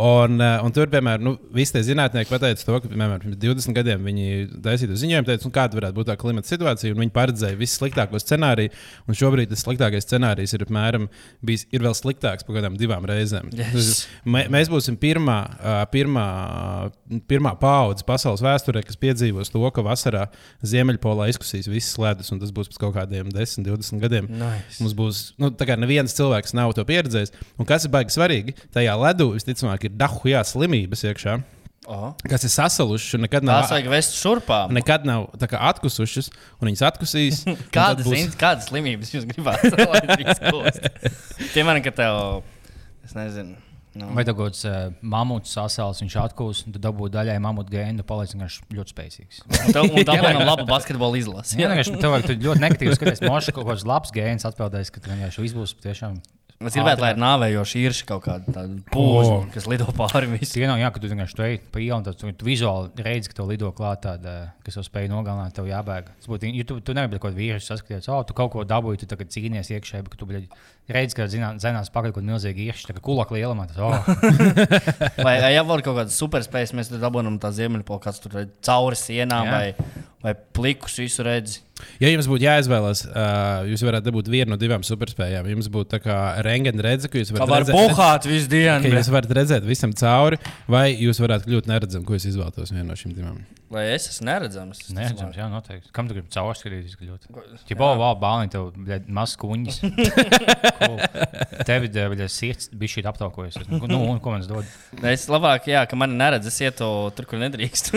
[SPEAKER 3] Un, uh, un tur, piemēram, nu, visi tie zinātnieki pateica to, ka piemēram, pirms 20 gadiem viņi taisīja ziņojumu, teica, nu, kāda varētu būt tā klimata situācija. un Viņi paredzēja vissliktāko scenāriju, un šobrīd tas sliktākais scenārijs ir apmēram bijis, ir vēl sliktāks par kaut kādām divām reizēm.
[SPEAKER 1] Yes.
[SPEAKER 3] Mē, mēs būsim pirmā, ā, pirmā, pirmā paudze pasaules vēsturē, kas piedzīvos to, ka vasarā Ziemeļpolā izkusīs visas ledus, un tas būs pēc kaut kādiem 10, 20 gadiem.
[SPEAKER 1] Nice.
[SPEAKER 3] Mums būs, nu, tā kā neviens cilvēks nav to pieredzējis. Un kas ir baigi svarīgi, tajā ledū visticamāk ir dahujā slimības iekšā,
[SPEAKER 1] Oho.
[SPEAKER 3] kas ir sasalušas un nekad nav.
[SPEAKER 1] Tās vajag vest šurpā.
[SPEAKER 3] Nekad nav tā kā atkusušas, un viņas atkusīs. un tad
[SPEAKER 1] Kādas,
[SPEAKER 3] būs-
[SPEAKER 1] būs... kādas slimības jūs gribētu? lai viss kūst? Piemēram, ka tev, es nezinu, nu,
[SPEAKER 2] Vai tev kaut kāds uh, mamuts sasals, viņš atkūs, un tu dabūji daļai mamutu gēnu, tu paliec vienkārši ļoti spēcīgs.
[SPEAKER 1] tev, un tev ir labi basketbola izlase.
[SPEAKER 2] Jā, vienkārši tev vajag tu ļoti negatīvi skaties, mošs kaut kāds labs gēns atpeldēs, ka tu vienkārši viss būs tiešām.
[SPEAKER 1] Es gribētu, lai ir nāvējoši īrši kaut kāda tāda pūža,
[SPEAKER 3] O.
[SPEAKER 1] kas lido pāri visam.
[SPEAKER 2] Sienā, jā, ka tu vienkārši tur ej pa ielu, un tad tu, tu vizuāli redzi, ka tev lido klāt tāda, kas jau spēja nogalināt, tev jābēg. Tas būtu, ja tu, tu nevari kaut kādu vīrusu saskatīties, oh, tu kaut ko dabūji, tu tagad cīnies iekšā, bet tu bļaļ, redzi, ka zinā- zinās pakaļ kaut milzīgi iekšā, tā kā kulaka lielumā. Tas, oh,
[SPEAKER 1] Vai, ja jau var kaut kāda superspēja, mēs tur dabūjām tā ziemeļpolka, kas tur ir cauri sienām
[SPEAKER 2] Jā.
[SPEAKER 1] vai, vai plikus visu redzi.
[SPEAKER 3] Ja jums būtu jāizvēlas, uh, jūs varētu dabūt vienu no divām superspējām. Jums būtu tā kā rengena redzes, ka jūs
[SPEAKER 1] Kā
[SPEAKER 3] varat
[SPEAKER 1] var buhāt visu dienu,
[SPEAKER 3] ka
[SPEAKER 1] bet-
[SPEAKER 3] jūs varat redzēt visam cauri, vai jūs varētu kļūt neredzami, ko es izvēlētos vienu no šīm divām.
[SPEAKER 1] lai es esmu neredzams. Tas
[SPEAKER 2] Nē,
[SPEAKER 1] labi.
[SPEAKER 2] redzams, jā, noteikti. Kam tu gribi caurskatīties? Ja bāl, bāl, bāliņ, tev bļa, maz kuņas. Cool. Tevi, bļa, sirds bija šī aptaukojas. Nu, ko- nu, un ko man dod?
[SPEAKER 1] Nē, Nu, Es labāk, jā, ka man neredz, es ietu tur, kur nedrīkst.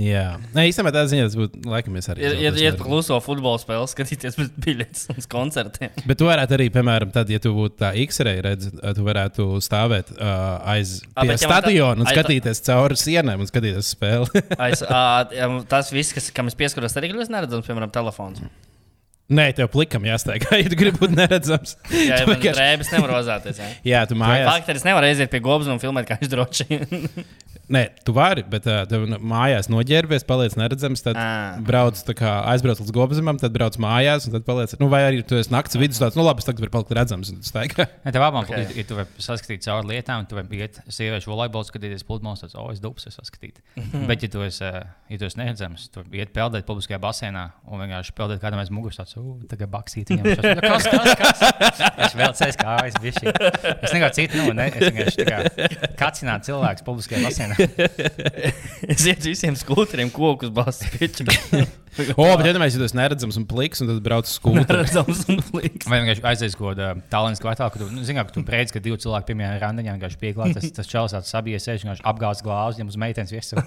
[SPEAKER 3] Jā, Nē, īstenībā tā ziņā tas būtu laikam es arī.
[SPEAKER 1] Iet, iet
[SPEAKER 3] izvēlētos
[SPEAKER 1] pa
[SPEAKER 3] neredzami.
[SPEAKER 1] kluso futbola spēli, skatīties pēc biļetes un uz koncertiem.
[SPEAKER 3] Bet tu varētu arī, piemēram, tad, ja tu būtu tā X-ray redzes, tu varētu stāvēt uh, aiz
[SPEAKER 1] Ā, bet
[SPEAKER 3] pie
[SPEAKER 1] ja man tā-
[SPEAKER 3] stadiona un
[SPEAKER 1] aiz tā-
[SPEAKER 3] skatīties cauri sienām un skatīties spēli.
[SPEAKER 1] Aiz, ā, jā, tas viss, kas, kam es pieskaros, arī kļūst neredzams, piemēram, telefons.
[SPEAKER 3] Nē, tev plikam jāsteigā, ja tu gribi būt neredzams.
[SPEAKER 1] Jā, jau
[SPEAKER 3] Tu vienkārši-
[SPEAKER 1] tādā drēbēs nevar rozāties. jā.
[SPEAKER 3] Jā, tu mājās.
[SPEAKER 1] Faktiski es nevaru aiziet pie gobas un filmēt, kā viņš droši.
[SPEAKER 3] Nē, tu vari, bet uh, tev n- mājās noģērbies, paliec neredzams. Tad
[SPEAKER 1] Ā.
[SPEAKER 3] brauc, tā kā, aizbrauc līdz gobzemam, tad brauc mājās. un Tad paliec, nu, vai arī tu esi naktas vidus, tāds, nu labi, es tagad varu palikt redzams. un tu staigā.
[SPEAKER 2] Nē, tev abām, okay. ja tu vari saskatīt cauri lietām, tu vari iet sieviešu volejbolu, skatīties pludmales, tad, oh, es dubsu saskatīt. Bet, ja tu esi, eh, ja tu esi neredzams, tu vari iet peldēt publiskajā basēnā un vienkārši peldēt kādam aiz muguras, tāds, oh, tagad baksīt viņam. Es esmu, Kas, kas, kas? Es vēl ceļu kājas, bišķi. Es neko citu, nu, ne, es vienkārši tā kā kacināt cilvēks publiskajā basēnā.
[SPEAKER 1] Es ietu visiem skūteriem, kokus balstu.
[SPEAKER 3] O, bet iedomājieties, ja tu esi neredzams un pliks, un tad brauc uz skolu.
[SPEAKER 1] Neredzams un plīgs.
[SPEAKER 2] Vai vienkārši aizies kaut kādā tālākas kvartālā, kad tu nu, zini, ka tu brīdis, kad divi cilvēki piemēram randiņā vienkārši pieklājas, tas, tas čels tāds sabijies, sēž vienkārši apgāzts glāzi, ņem uz meitenes viesu.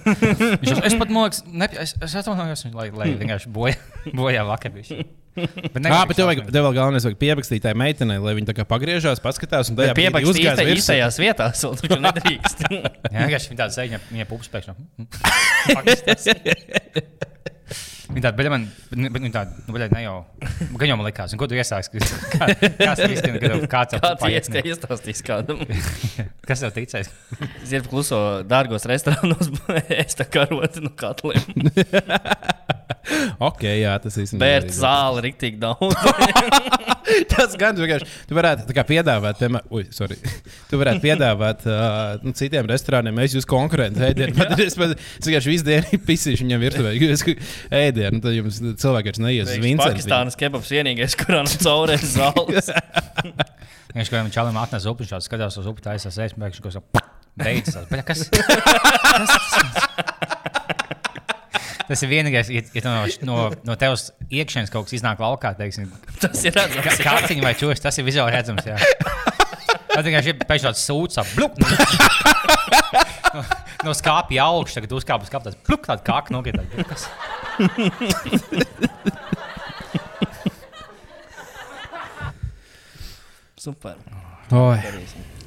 [SPEAKER 2] Viņš jau- es pat mūks, es, es atvainojos, lai, lai vienkārši bojā, bojā vakar bija. Bet,
[SPEAKER 3] Jā, bet tev, vajag, tev vēl galvenais ir pierakstīt tai meitenei, lai viņa tā kā pagriežās, paskatās un tajā brīdī
[SPEAKER 1] Piebakstīts
[SPEAKER 3] uzgāz
[SPEAKER 1] īsta,
[SPEAKER 3] virsū.
[SPEAKER 1] īstajās vietās, un tur nedrīkst.
[SPEAKER 2] Jā, vienkārši viņa tāda sēž, viņa pupas pēkšņi. Fuck, kas tas? Viņa tāda, bet man, bet viņa tāda, nu, bet ne jau, gan jau man likās, un ko tu iesāksi? Kā, kas tas īstenībā, kad tev kāds tev
[SPEAKER 1] Kāds
[SPEAKER 2] paiet,
[SPEAKER 1] ieskaiņ iestāstīs kādam?
[SPEAKER 2] Kas tev ticēs?
[SPEAKER 1] Zirga kluso dārgos restorānos, es tā kā rotu no katliem.
[SPEAKER 3] Ok, jā, tas īstenībā. arī
[SPEAKER 1] Bērnu
[SPEAKER 3] būtu.
[SPEAKER 1] zāli riktīgi daudz.
[SPEAKER 3] Tas gan vienkārši. Tu varētu tā kā piedāvāt, tiem, ui, sorry. Tu varētu piedāvāt uh, nu, citiem restorāniem, es jūs konkurentu ēdienu. Tad es pat- es vienkārši visu dienu pisīšu viņam virtuvē. Jūs ēdienu, nu, tad jums cilvēki vairs neies uz Vincentu.
[SPEAKER 1] Pakistānas kebabs vienīgais, kurā no caurēs zāles.
[SPEAKER 2] Viņš kaut kādam čalam atnesa upi, viņš tāds skatās uz upi, taisa sēž, pēkšņi kaut kas beidzas. tāds, "Bļa, Kas? kas tas- Tas ir vienīgais, ja, ja tu no, no, no tevis iekšienes kaut kas iznāk laukā, teiksim,
[SPEAKER 1] Tas ir redzams. jā.
[SPEAKER 2] kāciņa vai čūs, tas ir vizuāli redzams. Jā. Tas vienkārši ir pēc tam sūdzas, blūk! No, no skāpja augšā, tagad uzkāpa uz kāpnes, blūk, tāda kā nokrita.
[SPEAKER 1] Super.
[SPEAKER 3] Oi.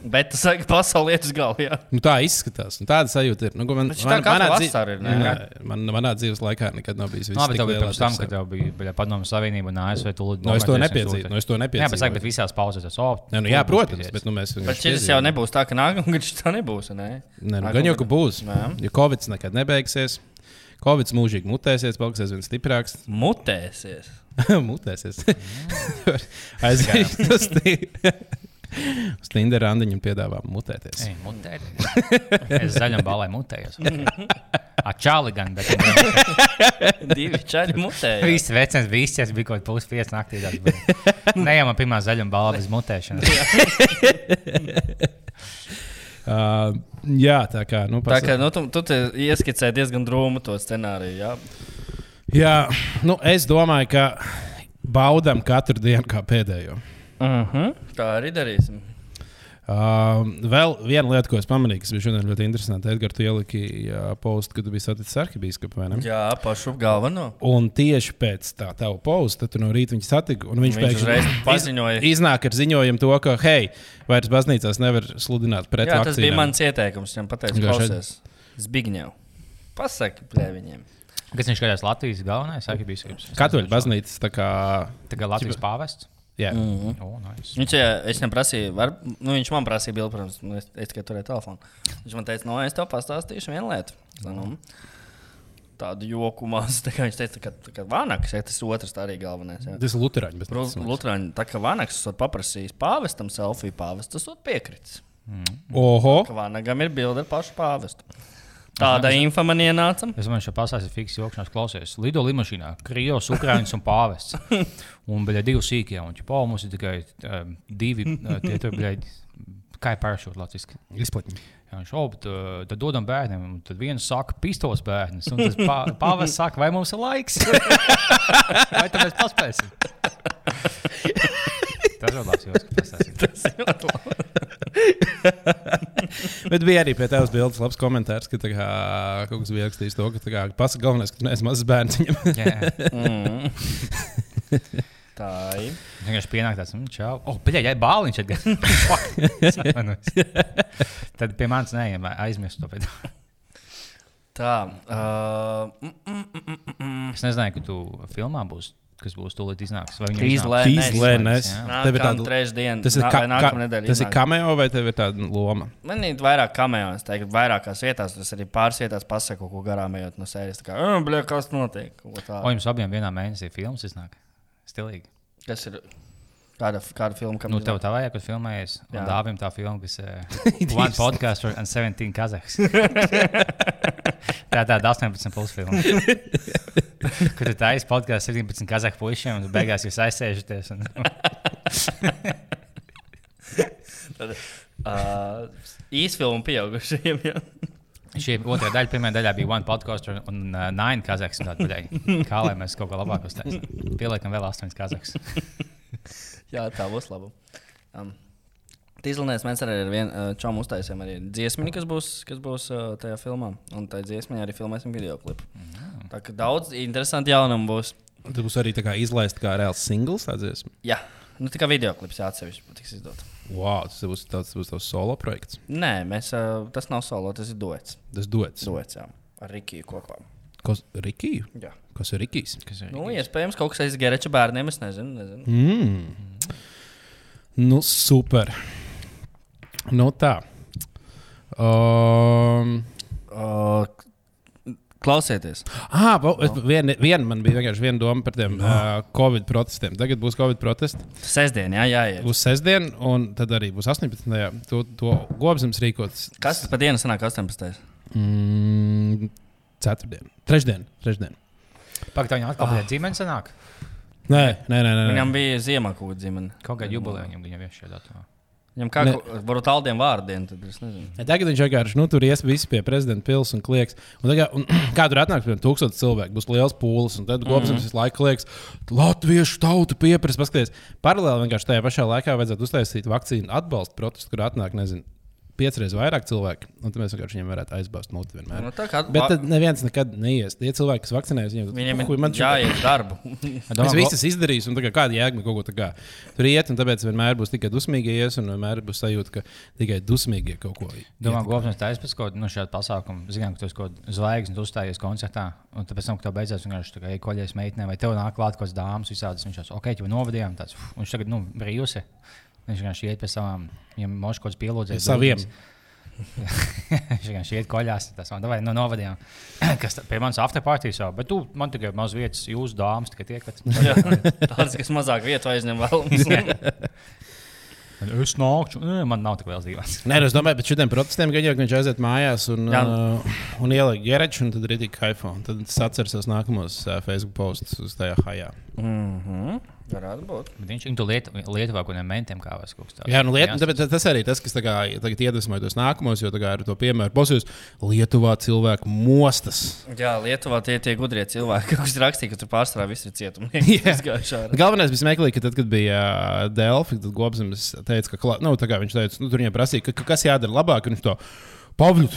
[SPEAKER 1] Bet tas ir pasaules galvā. jā.
[SPEAKER 3] Nu, tā izskatās. Nu, tāda sajūta ir. Nu, man,
[SPEAKER 1] Bet šī tā katra
[SPEAKER 3] dzī-
[SPEAKER 1] vasara ir, ne?
[SPEAKER 3] Nē, man, manā dzīves laikā nekad nav bijis. viss
[SPEAKER 2] Nu, Labi,
[SPEAKER 3] tik
[SPEAKER 2] tev bija
[SPEAKER 3] lielā
[SPEAKER 2] pirms tam,
[SPEAKER 3] tirsā.
[SPEAKER 2] kad uh, tev bija bļa, Padomu Savienība un ASV. Tu,
[SPEAKER 3] Nu, es to nepiedzīvoju. Nu, es to
[SPEAKER 2] Jā, bet, saka, bet
[SPEAKER 3] nepiedzīvoju.
[SPEAKER 2] visās pauzēs tas opts.
[SPEAKER 3] Nē, nu, jā, protams, bet nu, mēs
[SPEAKER 1] Bet
[SPEAKER 3] vienkārši
[SPEAKER 1] šis jau
[SPEAKER 3] piedzīvojam.
[SPEAKER 1] nebūs tā, ka nākamā gada šis tā nebūs. Nē,
[SPEAKER 3] Nē, nu,
[SPEAKER 1] Nākamgad-
[SPEAKER 3] gan jau, ka būs.
[SPEAKER 1] Nē.
[SPEAKER 3] Jo Covid nekad nebeigsies. Covid mūžīgi mutēsies, paliksies viens stiprāks.
[SPEAKER 1] Mutēsies.
[SPEAKER 3] mutēsies. Aizgājis uz Tinder randiņu un piedāvā mutēties.
[SPEAKER 2] Ei, mutē. Es zaļam balai mutējos. Ar čāli gan, bet viņš
[SPEAKER 1] Divi čaļi mutēja.
[SPEAKER 2] visi vecens, visi es biju kaut kāds pusi pieci naktī. tāds bija. Ne jau man pirmā zaļam balā bez mutēšanas.
[SPEAKER 3] Uh, jā, tā kā. Nu,
[SPEAKER 1] Tā kā
[SPEAKER 3] pasaka-
[SPEAKER 1] nu, tu, tu te ieskicēji diezgan drūmu to scenāriju. Jā.
[SPEAKER 3] Jā, nu, es domāju, ka baudām katru dienu kā pēdējo.
[SPEAKER 1] Uh -huh. Tā arī darīsim.
[SPEAKER 3] Uh, vēl viena lieta, ko es pamanīju, kas bija šodien ļoti interesanti. Edgars, tu ieliki uh, postu, kad tu biji saticis arhibīskapu vai ne?
[SPEAKER 1] Jā, pašu galveno.
[SPEAKER 3] Un tieši pēc tā tā posta, tad tu no rīta viņu satiku. un Viņš,
[SPEAKER 1] Viņš uzreiz paziņoja.
[SPEAKER 3] iz- iznāk ar ziņojumu, to, ka, hei, vairs baznīcās nevar sludināt pret
[SPEAKER 1] Jā, tas bija
[SPEAKER 3] vakcīnām.
[SPEAKER 1] mans ieteikums. Viņam pateica,
[SPEAKER 3] Vienkārši
[SPEAKER 1] klausies, Zbigņev. Pasaki, plē viņiem.
[SPEAKER 2] Kas viņš kādās Latvijas galvenais arhibīskaps?
[SPEAKER 3] Katoļu baznīcas tā kā.
[SPEAKER 2] Tagad Latvijas pāvests.
[SPEAKER 3] Jā, mm.
[SPEAKER 2] O, nice.
[SPEAKER 1] Viņš, jā, es viņam prasīju, var, nu, viņš man prasīja, bija, protams, nu, es, es tikai turēju telefonu. Viņš man teica, no es tev pastāstīšu vienu lietu. Es tā, Nu, tādu joku mazu. Tā kā viņš teica, ka tā kā Vānakas, ja, tas otrs tā arī galvenais. Jā.
[SPEAKER 3] tas ir Lutāņu
[SPEAKER 1] Ru-
[SPEAKER 3] baznīca.
[SPEAKER 1] Lutāņi, tā kā Vānakas ir paprasījis pāvestam selfiju, pāvests ir piekritis.
[SPEAKER 3] Oho,
[SPEAKER 1] Ka Vānagam ir bilde ar pašu pāvestu. Tāda infama ienāca.
[SPEAKER 2] Es domāju, ka pasākums ir fiksēts joks, klausies. Lido līnijā, Krijos, Ukrāņš un Pāvests. Un bija divi sīkie, un ķipā, mums ir tikai um, divi eh, tie tur bija. Kā ir pāršūt latviešu?
[SPEAKER 3] Izplatīt.
[SPEAKER 2] Jā, viņš šobrīd tad dodam bērniem, un tad viens saka, pistols bērns. Un tas pā, pāvis saka, vai mums ir laiks? vai tad mēs paspēsim? Tas ir labs joks, kas tas ir.
[SPEAKER 3] Bet bija arī pie tevis bildes labs komentārs, ka tā kā, kaut kas bija rakstījis to, ka tā kā, pasaka galvenais, ka tu neesi mazs bērns. Viņam
[SPEAKER 2] Jā, jā.
[SPEAKER 1] Mm. Tā ir.
[SPEAKER 2] Vienkārši pienāk tāds, mm, čau. O, bet jā, bāliņš ir gan. Tad pie manis neiem, aizmirst to. Bet.
[SPEAKER 1] Tā. Uh, mm, mm, mm, mm, mm.
[SPEAKER 2] Es nezināju, ka tu filmā būs, kas būs tūlīt iznāks. Vai viņam iznāks?
[SPEAKER 1] Izlēnēs.
[SPEAKER 3] Izlēnēs.
[SPEAKER 1] Nākamā
[SPEAKER 3] Tev ir tāda-
[SPEAKER 1] trešdiena.
[SPEAKER 3] Tas ir,
[SPEAKER 1] nā-
[SPEAKER 3] ka,
[SPEAKER 1] vai
[SPEAKER 3] ka,
[SPEAKER 1] nākamā nedēļa
[SPEAKER 3] tas ir
[SPEAKER 1] iznāk?
[SPEAKER 3] kameo vai tev ir tāda loma?
[SPEAKER 1] Man ir vairāk kamēļu, es teiktu, vairākās vietās. Tas arī pāris vietās pasaku, ko garām ejot no sērijas. Tā kā, "Mm, bļa, kas notiek? Kaut ko
[SPEAKER 2] O,
[SPEAKER 1] tādu.
[SPEAKER 2] jums abiem vienā mēnesī filmas iznāk. Stilīgi.
[SPEAKER 1] Kas ir? Kāda, kāda filma? kam
[SPEAKER 2] Nu,
[SPEAKER 1] iznāk?
[SPEAKER 2] tev tā vajag, kad filmējies.
[SPEAKER 1] Jā.
[SPEAKER 2] Un dāvim tā filma, kas ir uh, One Podcast and 17 Kazahs. tā ir tāda 18 plus filma. Kad tu taisīji podkāstu 17 Kazahs puišiem, un tu beigās jūs aizsēžaties. Un...
[SPEAKER 1] Ā, Īsa filma pieaugušajiem. jā.
[SPEAKER 2] Šī otrā daļa, pirmā daļā bija One Podcast un- un uh, Nine Kazahs. un tāda daļa. Kā lai mēs kaut ko labāku uztaisām? Pieliekam vēl 8 Kazahs.
[SPEAKER 1] Jā, tā būs laba. Um, Tīzlinēs mēs arī ar vienu čomu uztaisījām arī dziesmu, kas būs, kas būs ā, tajā filmā. Un tajā dziesmā arī filmēsim video klipu.
[SPEAKER 3] Mm-hmm.
[SPEAKER 1] Tā kā daudz interesanti jaunumu būs.
[SPEAKER 3] Tas būs arī tā kā izlaist kā reāls singls. tā dziesma?
[SPEAKER 1] Jā, nu tā kā video klips jā, atsevišķi tiks izdots.
[SPEAKER 3] Wow, tas būs tāds tas būs tavs solo projekts.
[SPEAKER 1] Nē, mēs, ā, tas nav solo, tas ir duets.
[SPEAKER 3] Tas dots.
[SPEAKER 1] Duets jā, ar Rikiju kopā.
[SPEAKER 3] Kas ir Rikijs?
[SPEAKER 1] Jā.
[SPEAKER 3] Kas ir Rikijs?
[SPEAKER 1] Nu, iespējams, kaut kas aiz Gereča bērniem. Es nezinu. nezinu. Mm.
[SPEAKER 3] Mm. Nu, super. Nu, tā. Um,
[SPEAKER 1] Uh, klausieties,
[SPEAKER 3] ah, vien, vien man bija vienkārši viena doma par tiem uh, Covid protestiem. Tagad būs Covid protesti.
[SPEAKER 1] sestdien, jā, jāiet.
[SPEAKER 3] Būs sestdiena, un tad arī būs 18. To, to gobsams rīkots
[SPEAKER 1] Kas tas par dienu sanāk 18?
[SPEAKER 3] mm, ceturtdien, trešdien, trešdien.
[SPEAKER 2] Pagaidām, viņam atkal bija dzimšanas sanāk.
[SPEAKER 3] Nē, nē, nē. nē, nē.
[SPEAKER 1] Viņam bija ziemakūda dzimene.
[SPEAKER 2] Kaut kā jubileja viņam bija šajā datumā.
[SPEAKER 1] Viņam kā
[SPEAKER 3] Ne.
[SPEAKER 1] ko- varbūt tādiem vārdiem, tad es nezinu.
[SPEAKER 3] Tagad viņš vienkārši nu, tur ies visi pie prezidenta pilsētas un klieks. Un tagad, un, kā tur atnāks, piemēram, tūkstotis cilvēku, būs liels pūlis. Un tad
[SPEAKER 1] Mhm.
[SPEAKER 3] gobsams mm -hmm. visu laiku liekas, latviešu tauta pieprasa. Paskaties, paralēli vienkārši tajā pašā laikā vajadzētu uztaisīt vakcīnu atbalstu protestu, kur atnāk, nezinu, piecreiz vairāk cilvēku. Un tad mēs vienkārši viņiem varētu aizbāzt muti vienmēr.
[SPEAKER 1] Nu, tā kā-
[SPEAKER 3] Bet tad neviens nekad neies. Tie cilvēki, kas vakcinējas, viņiem
[SPEAKER 1] Viņam
[SPEAKER 3] "Puh, Uhuh, man
[SPEAKER 1] ir
[SPEAKER 3] šī-
[SPEAKER 1] jāiet darbu.
[SPEAKER 3] Domā, es visu izdarīju, un tā kā kāda jēga man kaut ko tādu tur iet, un tāpēc vienmēr būs tikai dusmīgi ies, un vienmēr būs sajūta, ka tikai dusmīgi kaut ko
[SPEAKER 2] Domāju, ka Gobsons taisnība pēc kaut nu, šāda pasākuma. Zinām, ka tu esi kaut kāds zvaigznes uzstājies koncertā, un tad pēc tam, kad tev beidzās, vienkārši tā kā iekoļies meitenē, vai tev nāk klāt kaut kādas dāmas, visādas viņš jau ok, jau novadījām tāds, "Uf," un viņš tagad, nu, brīvs. Viņš vienkārši iet pie savām, viņam mož kaut kāds
[SPEAKER 3] Pie
[SPEAKER 2] pielūdzies.
[SPEAKER 3] saviem.
[SPEAKER 2] dūdens. viņš vienkārši iet koļās, tas man davai, nu, novadījām. Kas tā- pie manas afterpartijas jau, bet tu man tikai maz vietas, jūs dāmas tikai tiekat.
[SPEAKER 1] Jā, tāds, kas mazāk vietu aizņem vēl.
[SPEAKER 2] Es nākšu, Nē, man nav tik liels divas.
[SPEAKER 3] Nē, nu, es domāju, bet šodien protestiem gan jau ka viņš aiziet mājās un,
[SPEAKER 1] Jā.
[SPEAKER 3] uh, un ieliek gereču, un tad ir tik haifa. Tad es atceros nākamos uh, Facebook postus uz tajā hajā.
[SPEAKER 1] Mhm, varētu būt.
[SPEAKER 2] Bet viņš viņu liet, Lietuvā kaut kādiem mentiem kā vai kaut kas tāds.
[SPEAKER 3] Jā, nu, liet, tāpēc, tas arī tas, kas tā kā tagad iedvesmoja tos nākamos, jo tā kā ar to piemēru posūs, Lietuvā cilvēku mostas.
[SPEAKER 1] Jā, Lietuvā tie ir tie gudrie cilvēki, kas rakstīja, ka tur pārsvarā viss ir cietumnieki.
[SPEAKER 3] Jā.
[SPEAKER 1] Jā,
[SPEAKER 3] Galvenais bija smieklīgi, ka tad, kad bija ā, Delfi, tad Gobsams teica, ka klā, nu, tā kā viņš teica, nu, tur viņam prasīja, ka, ka kas jādara labāk. un Viņš to Pavlis,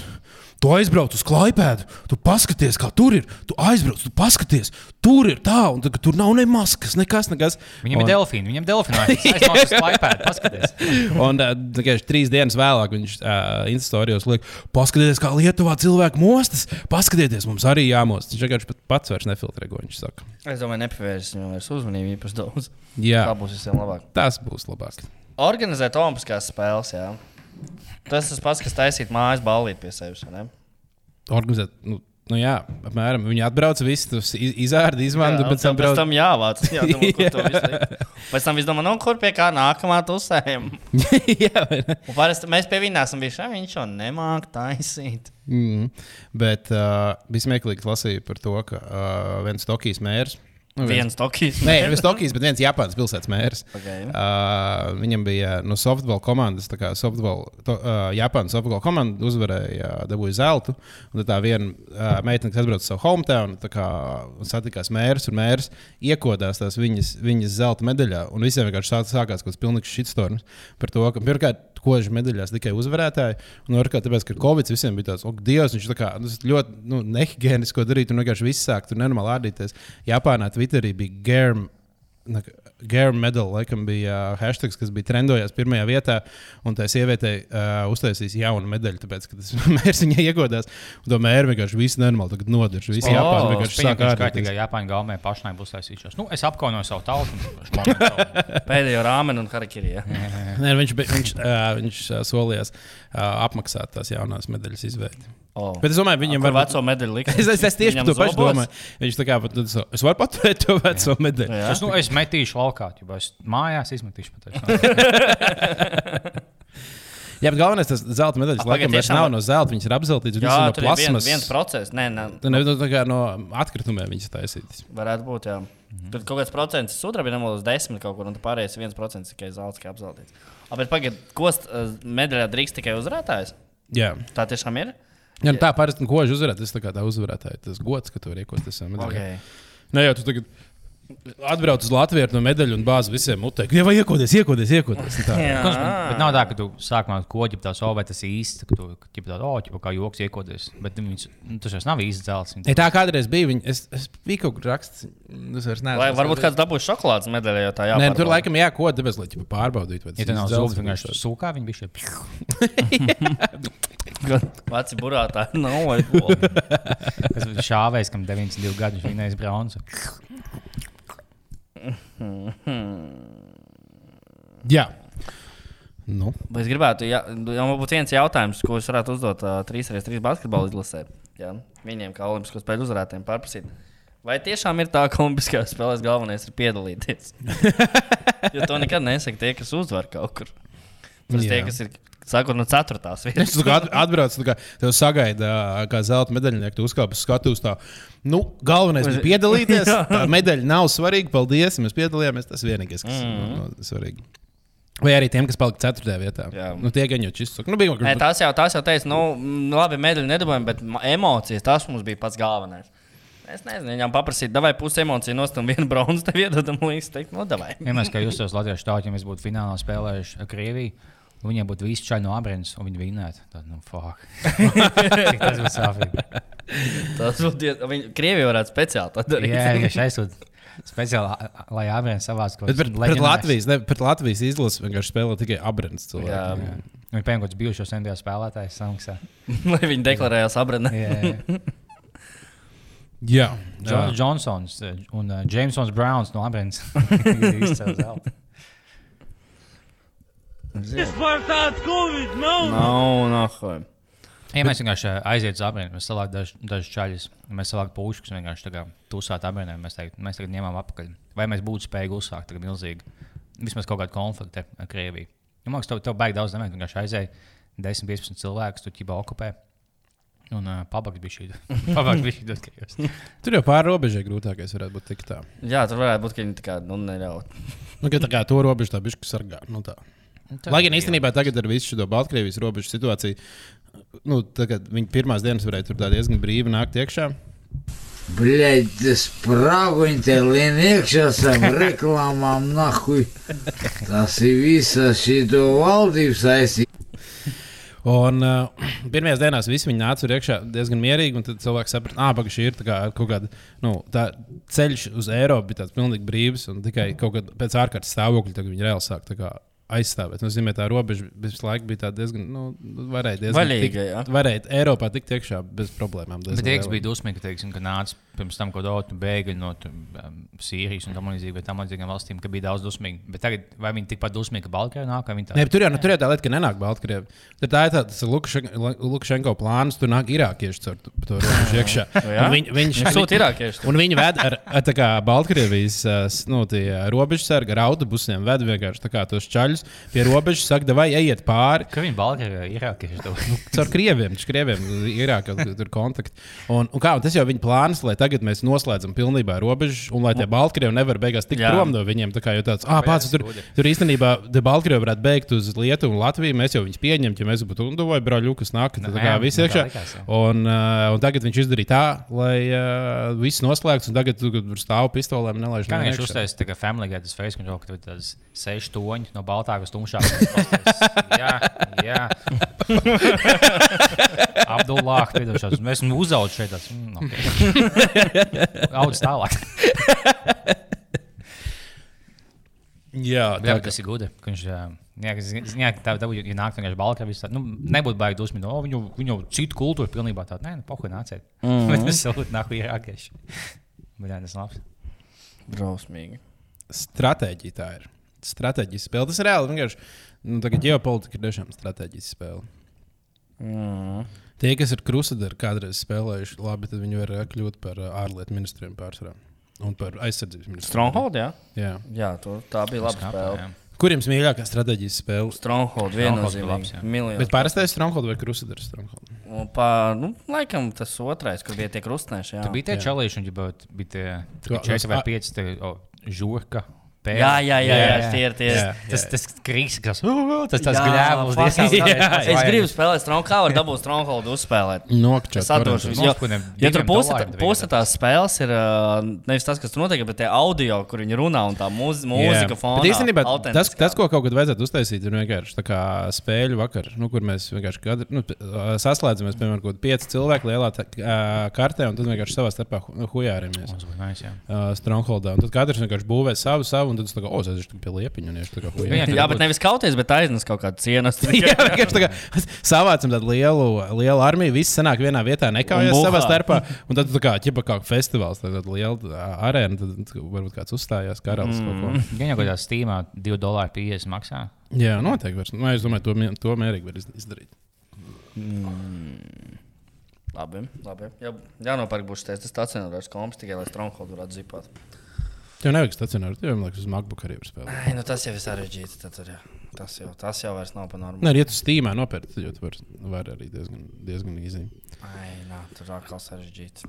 [SPEAKER 3] tu aizbrauc uz Klaipēdu, tu paskaties, kā tur ir. Tu aizbrauc, tu paskaties, tur ir tā, un tā, ka tur nav ne maskas, nekas, nekas.
[SPEAKER 2] Viņam
[SPEAKER 3] un,
[SPEAKER 2] ir delfīni, viņam ir delfīni. Es domāju, ka iPad, paskaties.
[SPEAKER 3] Un ā, tikai trīs dienas vēlāk viņš uh, Instastorijos liek, paskatieties, kā Lietuvā cilvēki mostas. Paskatieties, mums arī jāmostas. Viņš vienkārši pat pats vairs nefiltrē, ko viņš saka.
[SPEAKER 1] Es domāju, nepavērsim viņam vairs uzmanību īpaši daudz.
[SPEAKER 3] Jā,
[SPEAKER 1] Tā būs visiem labāk.
[SPEAKER 3] tas būs labāk.
[SPEAKER 1] Organizēt olimpiskās spēles, jā. Tas tas pats, kas taisīt mājas ballīti pie sevis. vai ne?
[SPEAKER 3] organizēt. Nu, nu jā, apmēram. Viņi atbrauc, visi tur izārda, izmanto,
[SPEAKER 1] Jā,
[SPEAKER 3] bet tam
[SPEAKER 1] pēc
[SPEAKER 3] brauc.
[SPEAKER 1] tam jāvāc. Jā, domā, kur to visu likt. pēc tam viss domā, nu, kur pie kā nākamā pusē.
[SPEAKER 3] jā, vai ne?
[SPEAKER 1] Parasti mēs pie viņa esam bijuši, "Ā, viņš jau nemāk taisīt.
[SPEAKER 3] Mm. Bet uh, bija smieklīgi lasīt par to, ka uh, viens Tokijas mērs. nu,
[SPEAKER 1] Viens Tokijas.
[SPEAKER 3] Nē, nevis Tokijas, bet viens Japānas pilsētas mērs.
[SPEAKER 1] Okay.
[SPEAKER 3] Uh, viņam bija no softbola komandas, tā kā softbola, to, uh, Japānas softbola komanda uzvarēja, uh, dabūja zeltu. Un tad tā viena uh, meitene, kas atbrauca uz savu hometown, tā kā satikās mērs un mērs, iekodās tās viņas, viņas zelta medaļā. Un visiem vienkārši sā- sākās kaut kāds pilnīgs shitstorms par to, ka pirmkārt, koži medaļās tikai uzvarētāji. Un otrkārt, tāpēc, ka Covid visiem bija tāds, ok, Dievs, viņš tā kā tas ļoti nu, nehigiēniski ko darīt, un vienkārši viss sāk tur nenormāli ārdīties. Japānā Twitterī bija germ. Gēra medaļa, laikam, bija uh, hashtag, kas bija trendojās pirmajā vietā. Un tā sieviete uh, uztaisīs jaunu medaļu, tāpēc, ka tas mērs viņai iegodās. Un to mērs vienkārši viss normāli tagad nodarbojas. Visi Japāņi vienkārši sāk
[SPEAKER 2] Tikai
[SPEAKER 3] ārkārtīgi.
[SPEAKER 2] Oh, Japāņu galvenajā pašnai būs taisīšos. Nu, es apkaunoju savu tautu. un es apkaunoju savu.
[SPEAKER 1] Pēdējo rāmenu un harakiriju. Ja.
[SPEAKER 3] Nē, viņš, bija- viņš, uh, viņš uh, solījās uh, apmaksāt tās jaunās medaļas izveidi.
[SPEAKER 1] Oh.
[SPEAKER 3] Bet es domāju,
[SPEAKER 1] Viņam
[SPEAKER 3] viņam
[SPEAKER 1] var
[SPEAKER 3] varbūt
[SPEAKER 1] veco medaļu likt.
[SPEAKER 3] Es, es, es tieši par
[SPEAKER 1] Viņam
[SPEAKER 3] to pašu
[SPEAKER 1] zobos?
[SPEAKER 3] domāju. Viņš tā kā pat, tad, es varu paturēt to veco medaļu.
[SPEAKER 1] Jā.
[SPEAKER 2] Es, nu, es metīšu laukā, jo es mājās izmetīšu pat.
[SPEAKER 3] Jā, bet galvenais tas zelta
[SPEAKER 1] A,
[SPEAKER 3] medaļas laikam
[SPEAKER 1] pagaid,
[SPEAKER 3] vairs
[SPEAKER 1] tiešām
[SPEAKER 3] nav
[SPEAKER 1] var-
[SPEAKER 3] no zelta, viņš ir apzeltīts, viņš
[SPEAKER 1] Jā,
[SPEAKER 3] ir no
[SPEAKER 1] tur ir viens,
[SPEAKER 3] plasmas.
[SPEAKER 1] viens process. Nē, nē,
[SPEAKER 3] Tā nav Nu, tā kā no atkritumiem viņas taisītas.
[SPEAKER 1] varētu būt. Jā. Tur kaut kāds procents sudraba ir nemaz desmit kaut kur, un tur pārējais viens procents tikai zelts, kā apzeltīts. A, Bet pagaid, ko medaļā drīkst tikai uzvarētājs?
[SPEAKER 3] Jā,
[SPEAKER 1] Tā tiešām ir?
[SPEAKER 3] Jā nu tā parasti nu, koži uzvarēt, tas tā kā tā uzvarētāja, tas gods, ka tu vari iekot tas medaļu.
[SPEAKER 1] Okay.
[SPEAKER 3] Nē, jau tu tagad atbrauc uz Latviju ar no medaļu un bāzi visiem mutē. Jā, vai iekoties, iekoties, iekoties. un Tā.
[SPEAKER 2] Bet nav tā, ka tu sākumā koģi tā savu, vai tas īsti, ka tu ķip tā, o, ķip, kā joks iekodies. Bet viņš, nu, tas jau nav īsti dzēls.
[SPEAKER 3] Ja tā kādreiz bija, viņa, es, es biju kaut kur raksts, es vairs neesmu.
[SPEAKER 1] Lai, varbūt kāds dabūs šokolādes medaļu, jo tā
[SPEAKER 3] Nē,
[SPEAKER 1] jāpārbauda.
[SPEAKER 3] nu, tur laikam jākod, tāpēc, lai ķipa, pārbaudītu, vai tas
[SPEAKER 2] Ja tev nav
[SPEAKER 3] īsti
[SPEAKER 2] zobs,
[SPEAKER 3] dzelzs
[SPEAKER 2] vienkārši sūkā viņi bija šie.
[SPEAKER 1] Veci burātā nav. vai-
[SPEAKER 2] Tas bija šāvējs, kam 92 gadi viņš vinnējis bronzu.
[SPEAKER 3] Jā. Nu.
[SPEAKER 1] Bet es gribētu, ja, ja man būtu viens jautājums, ko es varētu uzdot uh, 3x3 basketbalu izlasē, ja, viņiem kā Olimpisko spēļu uzvarētājiem pārprasīt. Vai tiešām ir tā, ka Olimpiskajās spēlēs galvenais ir piedalīties? jo to nekad nesaka tie, kas uzvar kaut kur. Tas tie,
[SPEAKER 3] Jā.
[SPEAKER 1] kas ir sākot no 4.
[SPEAKER 3] Es
[SPEAKER 1] vietas.
[SPEAKER 3] tur atbraucu, tā kā tev sagaida, ā, kā zelta medaļnieks, tu uzkāp uz skatuves. tā, Nu, galvenais bija piedalīties.
[SPEAKER 1] Jā.
[SPEAKER 3] Tā medaļa nav svarīga. Paldies, mēs piedalījāmies. Tas vienīgais, kas mm. no, no, svarīgi. Vai arī tiem, kas palika 4. vietā.
[SPEAKER 1] Jā.
[SPEAKER 3] Nu, tie gan jau čistos. Nu, bija
[SPEAKER 1] Nē,
[SPEAKER 3] kaut kas
[SPEAKER 1] tās jau, tās jau teica, nu, mm, labi, medaļu nedabūjām, bet ma- emocijas tas mums bija pats galvenais. Es nezinu, viņam paprasīt, vai pusi emociju nostūmēt, vienu bronzas tev iedodam, un viņš teica, no, nu, davai.
[SPEAKER 2] Vienmēr, kā jūs tos latviešu tautīm, es būtu finālā spēlējuši ar Krieviju. un Viņiem būtu visi čaļi no abrēnas, un viņi vinnētu. Tad, nu, fuck. Cik tas būtu sāpīgi.
[SPEAKER 1] Tas būtu, diez- viņi Krievija varētu speciāli tā darīt.
[SPEAKER 2] Jā, vienkārši aizsūtīt. Speciāli, ā, lai abrēns savās kaut
[SPEAKER 3] Bet pret, pret, Latvijas, ne, pret Latvijas izlases vienkārši spēlē tikai abrēns cilvēki.
[SPEAKER 1] Jā.
[SPEAKER 2] Viņa pēkšņi kaut kāds bijušos NBA spēlētājs samaksā.
[SPEAKER 1] Lai viņi deklarējās abrenē.
[SPEAKER 2] Jā,
[SPEAKER 3] Jā, jā.
[SPEAKER 2] Džons Džonsons eh, un uh, Jamesons Browns no abrēnas.
[SPEAKER 4] Спартак COVID, no, no.
[SPEAKER 1] Nav, nahoj.
[SPEAKER 2] Ja mēs vienkārši eh, aizietu uz abrēnu, mēs salāktu daž, dažus čaļus, mēs salāktu puškus vienkārši tā kā tusāt abrēnē, mēs, tagad- mēs tagad ņemam apakaļ. Vai mēs būtu spējīgi uzsākt tagad milzīgi vismaz kaut kādu konfliktu ar- ar Krieviju? Nu, man liekas, tev, tev baigi daudz nemēģināt, vienkārši aizēja 10-15 cilvēkus, tu ķībā okupē. Un uh, pabeigts bija šī doma.
[SPEAKER 3] Tur jau pāri robežai grūtākais varētu būt tik tā.
[SPEAKER 1] Jā, tur varētu būt, ka viņi tā kā nu, neļauj.
[SPEAKER 3] Nu, ka tā kā to robežu tā bišķi sargā. Nu, tā. Lai gan īstenībā tagad ar visu šo Baltkrievijas robežu situāciju, nu, tagad viņi pirmās dienas varēja tur tā diezgan brīvi nākt iekšā.
[SPEAKER 5] Блять, да справуньте, ленекшасам, рекламам нахуй. Tas ir visa šī valdības aizsīga.
[SPEAKER 3] Un uh, pirmajās dienās visi viņi nāca tur iekšā diezgan mierīgi, un tad cilvēki saprata, ah, pagaidi, šī ir tā kā kaut kāda nu, tā ceļš uz Eiropu, bija tāds pilnīgi brīvs, un tikai kaut kad pēc ārkārtas stāvokļa tagad viņi reāli sāk. tā kā Aizstāvēt. Tas nozīmē, ka tā robeža visu laiku bija tāda diezgan. Nu, varēja diezgan
[SPEAKER 1] Vaļīga, jā.
[SPEAKER 3] tikt, varēja Eiropā tikt iekšā bez problēmām. diezgan
[SPEAKER 2] Bet Rīgas
[SPEAKER 3] lielām.
[SPEAKER 2] bija dusmīga, teiksim, ka nāca pirms tam, kad otru bēgļu no tur, um, Sīrijas un tam līdzīgām tam līdzīgām valstīm, ka bija daudz dusmīgi. Bet tagad, vai viņi tikpat dusmīgi kā Baltkrievija nāk, vai viņi
[SPEAKER 3] Nē,
[SPEAKER 2] tā
[SPEAKER 3] bet tur jau nu, tur jau tā lieta, ka nenāk Baltkrievi. Tad tā ir tā, tas ir Lukašen- Lu- Lukašenko plāns, tur nāk irākieši caur tu- to robežu iekšā.
[SPEAKER 1] Nu jā?
[SPEAKER 3] Un viņ- Viņš
[SPEAKER 1] Viņi sūta irākiešus tur.
[SPEAKER 3] Un viņi ved ar, ar tā kā Baltkrievijas ā, s- nu, tie, ā, robežsargi ar autobusiem, ved vienkārši tā kā tos čaļus pie robežas, saka, vai ejiet pāri.
[SPEAKER 2] Ka viņi Baltkrievijā ir Irākieši. tev-
[SPEAKER 3] Caur krieviem, viņš krieviem ir jāatzīst kontakti. Un, un kā, un tas jau viņa plāns, lai tagad mēs noslēdzam pilnībā robežu, un lai
[SPEAKER 2] Nu.
[SPEAKER 3] tie Baltkrievi nevar beigās tikt
[SPEAKER 1] Jā.
[SPEAKER 3] prom no viņiem. Tā kā jau tāds, ah, pats tur, tur īstenībā tie Baltkrievi varētu beigt uz Lietuvu un Latviju. Mēs jau viņus pieņemtu, ja mēs būtu Unduvoju, brāļu, kas nāk, tad tā kā
[SPEAKER 2] jā,
[SPEAKER 3] viss
[SPEAKER 2] nu, tā
[SPEAKER 3] iekšā.
[SPEAKER 2] likās, jā.
[SPEAKER 3] Un, uh, un tagad viņš izdarīja tā, lai uh, viss noslēgts, un tagad tu tur stāv pistolēm, nelaiž
[SPEAKER 2] Kā viņš
[SPEAKER 3] nevienu iekšā.
[SPEAKER 2] uztaisīja tādu family gadu face control, ka tur ir tādas seši toņi no baltāka uz tumšāku? jā, jā. Abdullāh, piedošās. Mēs esam uzauguši šeit. Tas, mm, okay. Audz tālāk.
[SPEAKER 3] Jā,
[SPEAKER 2] Jā,
[SPEAKER 3] tā
[SPEAKER 2] bet tas ir gudri. ka Viņš zināja, ka tā dabūja, ja nāk vienkārši Baltkrievijas. tā, Nu, nebūtu baigi dusmīgi. No, viņu, viņu citu kultūru pilnībā tādu. Nē, nu, pohuj nāciet. Mm -hmm. Tas salūti nāk irākieši. Bet jā, tas ir labs.
[SPEAKER 1] Drausmīgi.
[SPEAKER 3] stratēģija tā ir. Stratēģijas spēle. Tas ir reāli vienkārši nu, tā kā ģeopolitika ir tiešām stratēģijas spēle. Mm. Tie, kas ir krusadari kādreiz spēlējuši, labi, tad viņi var eh, kļūt par eh, ārlietu ministriem pārsvarā. Un par aizsardzības ministru.
[SPEAKER 1] Stronghold, jā?
[SPEAKER 3] Jā.
[SPEAKER 1] Jā, tur tā bija laba spēle.
[SPEAKER 2] Kāpēc?
[SPEAKER 3] Kur jums mīļākā stratēģijas spēle?
[SPEAKER 1] Stronghold
[SPEAKER 2] labs, jā.
[SPEAKER 1] viennozīmīgi.
[SPEAKER 3] Bet
[SPEAKER 1] Miljonus.
[SPEAKER 3] parastais Stronghold vai Crusader Stronghold?
[SPEAKER 1] Pa, nu, laikam tas otrais, kur bija tie krustneši. Jā,
[SPEAKER 2] Bija tie čalīši, un viņi bija- bija tie
[SPEAKER 3] Tu-
[SPEAKER 2] 4 vai
[SPEAKER 3] a-
[SPEAKER 2] 5 tie, o, žurka. pēli.
[SPEAKER 1] jā, jā, jā, jā,
[SPEAKER 2] jā.
[SPEAKER 1] jā. tie ir tie.
[SPEAKER 3] Jā.
[SPEAKER 2] Tas, tas krīks, kas tas, tas
[SPEAKER 1] Jā,
[SPEAKER 2] gļēvums.
[SPEAKER 1] fuck,
[SPEAKER 2] diezgan
[SPEAKER 1] es-
[SPEAKER 2] tāpēc, kas
[SPEAKER 1] Es
[SPEAKER 2] vajag.
[SPEAKER 1] gribu spēlēt Stronghold, kā var dabūt Stronghold uzspēlēt.
[SPEAKER 3] Nokčā.
[SPEAKER 1] Es atdošu visu.
[SPEAKER 2] Mums
[SPEAKER 1] Jo,
[SPEAKER 2] kādiem
[SPEAKER 1] ja tur
[SPEAKER 2] diviem
[SPEAKER 1] puse,
[SPEAKER 2] dolāriem bija
[SPEAKER 1] puse tās spēles ir ā, nevis tas, kas tur notiek, bet tie audio, kur viņi runā un tā mūz, mūzika fonā.
[SPEAKER 3] Bet īstenībā tas,
[SPEAKER 1] autentiskā.
[SPEAKER 3] tas, ko kaut kad vajadzētu uztaisīt, ir vienkārši tā kā spēļu vakar, nu, kur mēs vienkārši kadri, nu, p- saslēdzamies, piemēram, kaut kādi pieci cilvēki lielā tā, ā, kartē, un tad vienkārši savā starpā hu- hujāramies.
[SPEAKER 2] Mums bija nice, jā.
[SPEAKER 3] Uh, Strongholdā. Un tad katrs vienkārši būvē savu, savu, un tad es tā kā, o, es aiziešu pie liepiņa un iešu tā kā hujāramies.
[SPEAKER 2] Viņam
[SPEAKER 1] Jā, bet nevis kauties, bet aiznes kaut kādu cienas.
[SPEAKER 3] Jā, vienkārši tā kā savācam tādu lielu, lielu armiju, visi sanāk vienā vietā,
[SPEAKER 1] Un
[SPEAKER 3] nekaujas
[SPEAKER 1] buhā.
[SPEAKER 3] savā starpā. Un tad, tā kā ķipa kā festivāls, tad tāda liela ā, arēna, tad tā kā varbūt kāds uzstājās karalis mm. kaut ko.
[SPEAKER 2] Gan jau kādā stīmā 2,50 dolāri maksā.
[SPEAKER 3] Jā, noteikti. Vairs. Nu, es domāju, to, mie- to mērīgi var iz- izdarīt.
[SPEAKER 1] Labi, labi. Jā, jānopērk būs šis tas stacionārs komps, tikai lai Stronghold varētu zipāt.
[SPEAKER 3] Tev nevajag stacionāri, tev jau, man liekas, uz MacBook arī var spēlēt.
[SPEAKER 1] Ai, nu tas jau ir sarežģīti. tad tur, jā. Tas jau, tas jau vairs nav pa normālu.
[SPEAKER 3] Nē, nu, ja tu stīmā nopērci, tad jau tu vari var arī diezgan, diezgan īsi.
[SPEAKER 1] Ai, nā, tur atkal sarežģīti.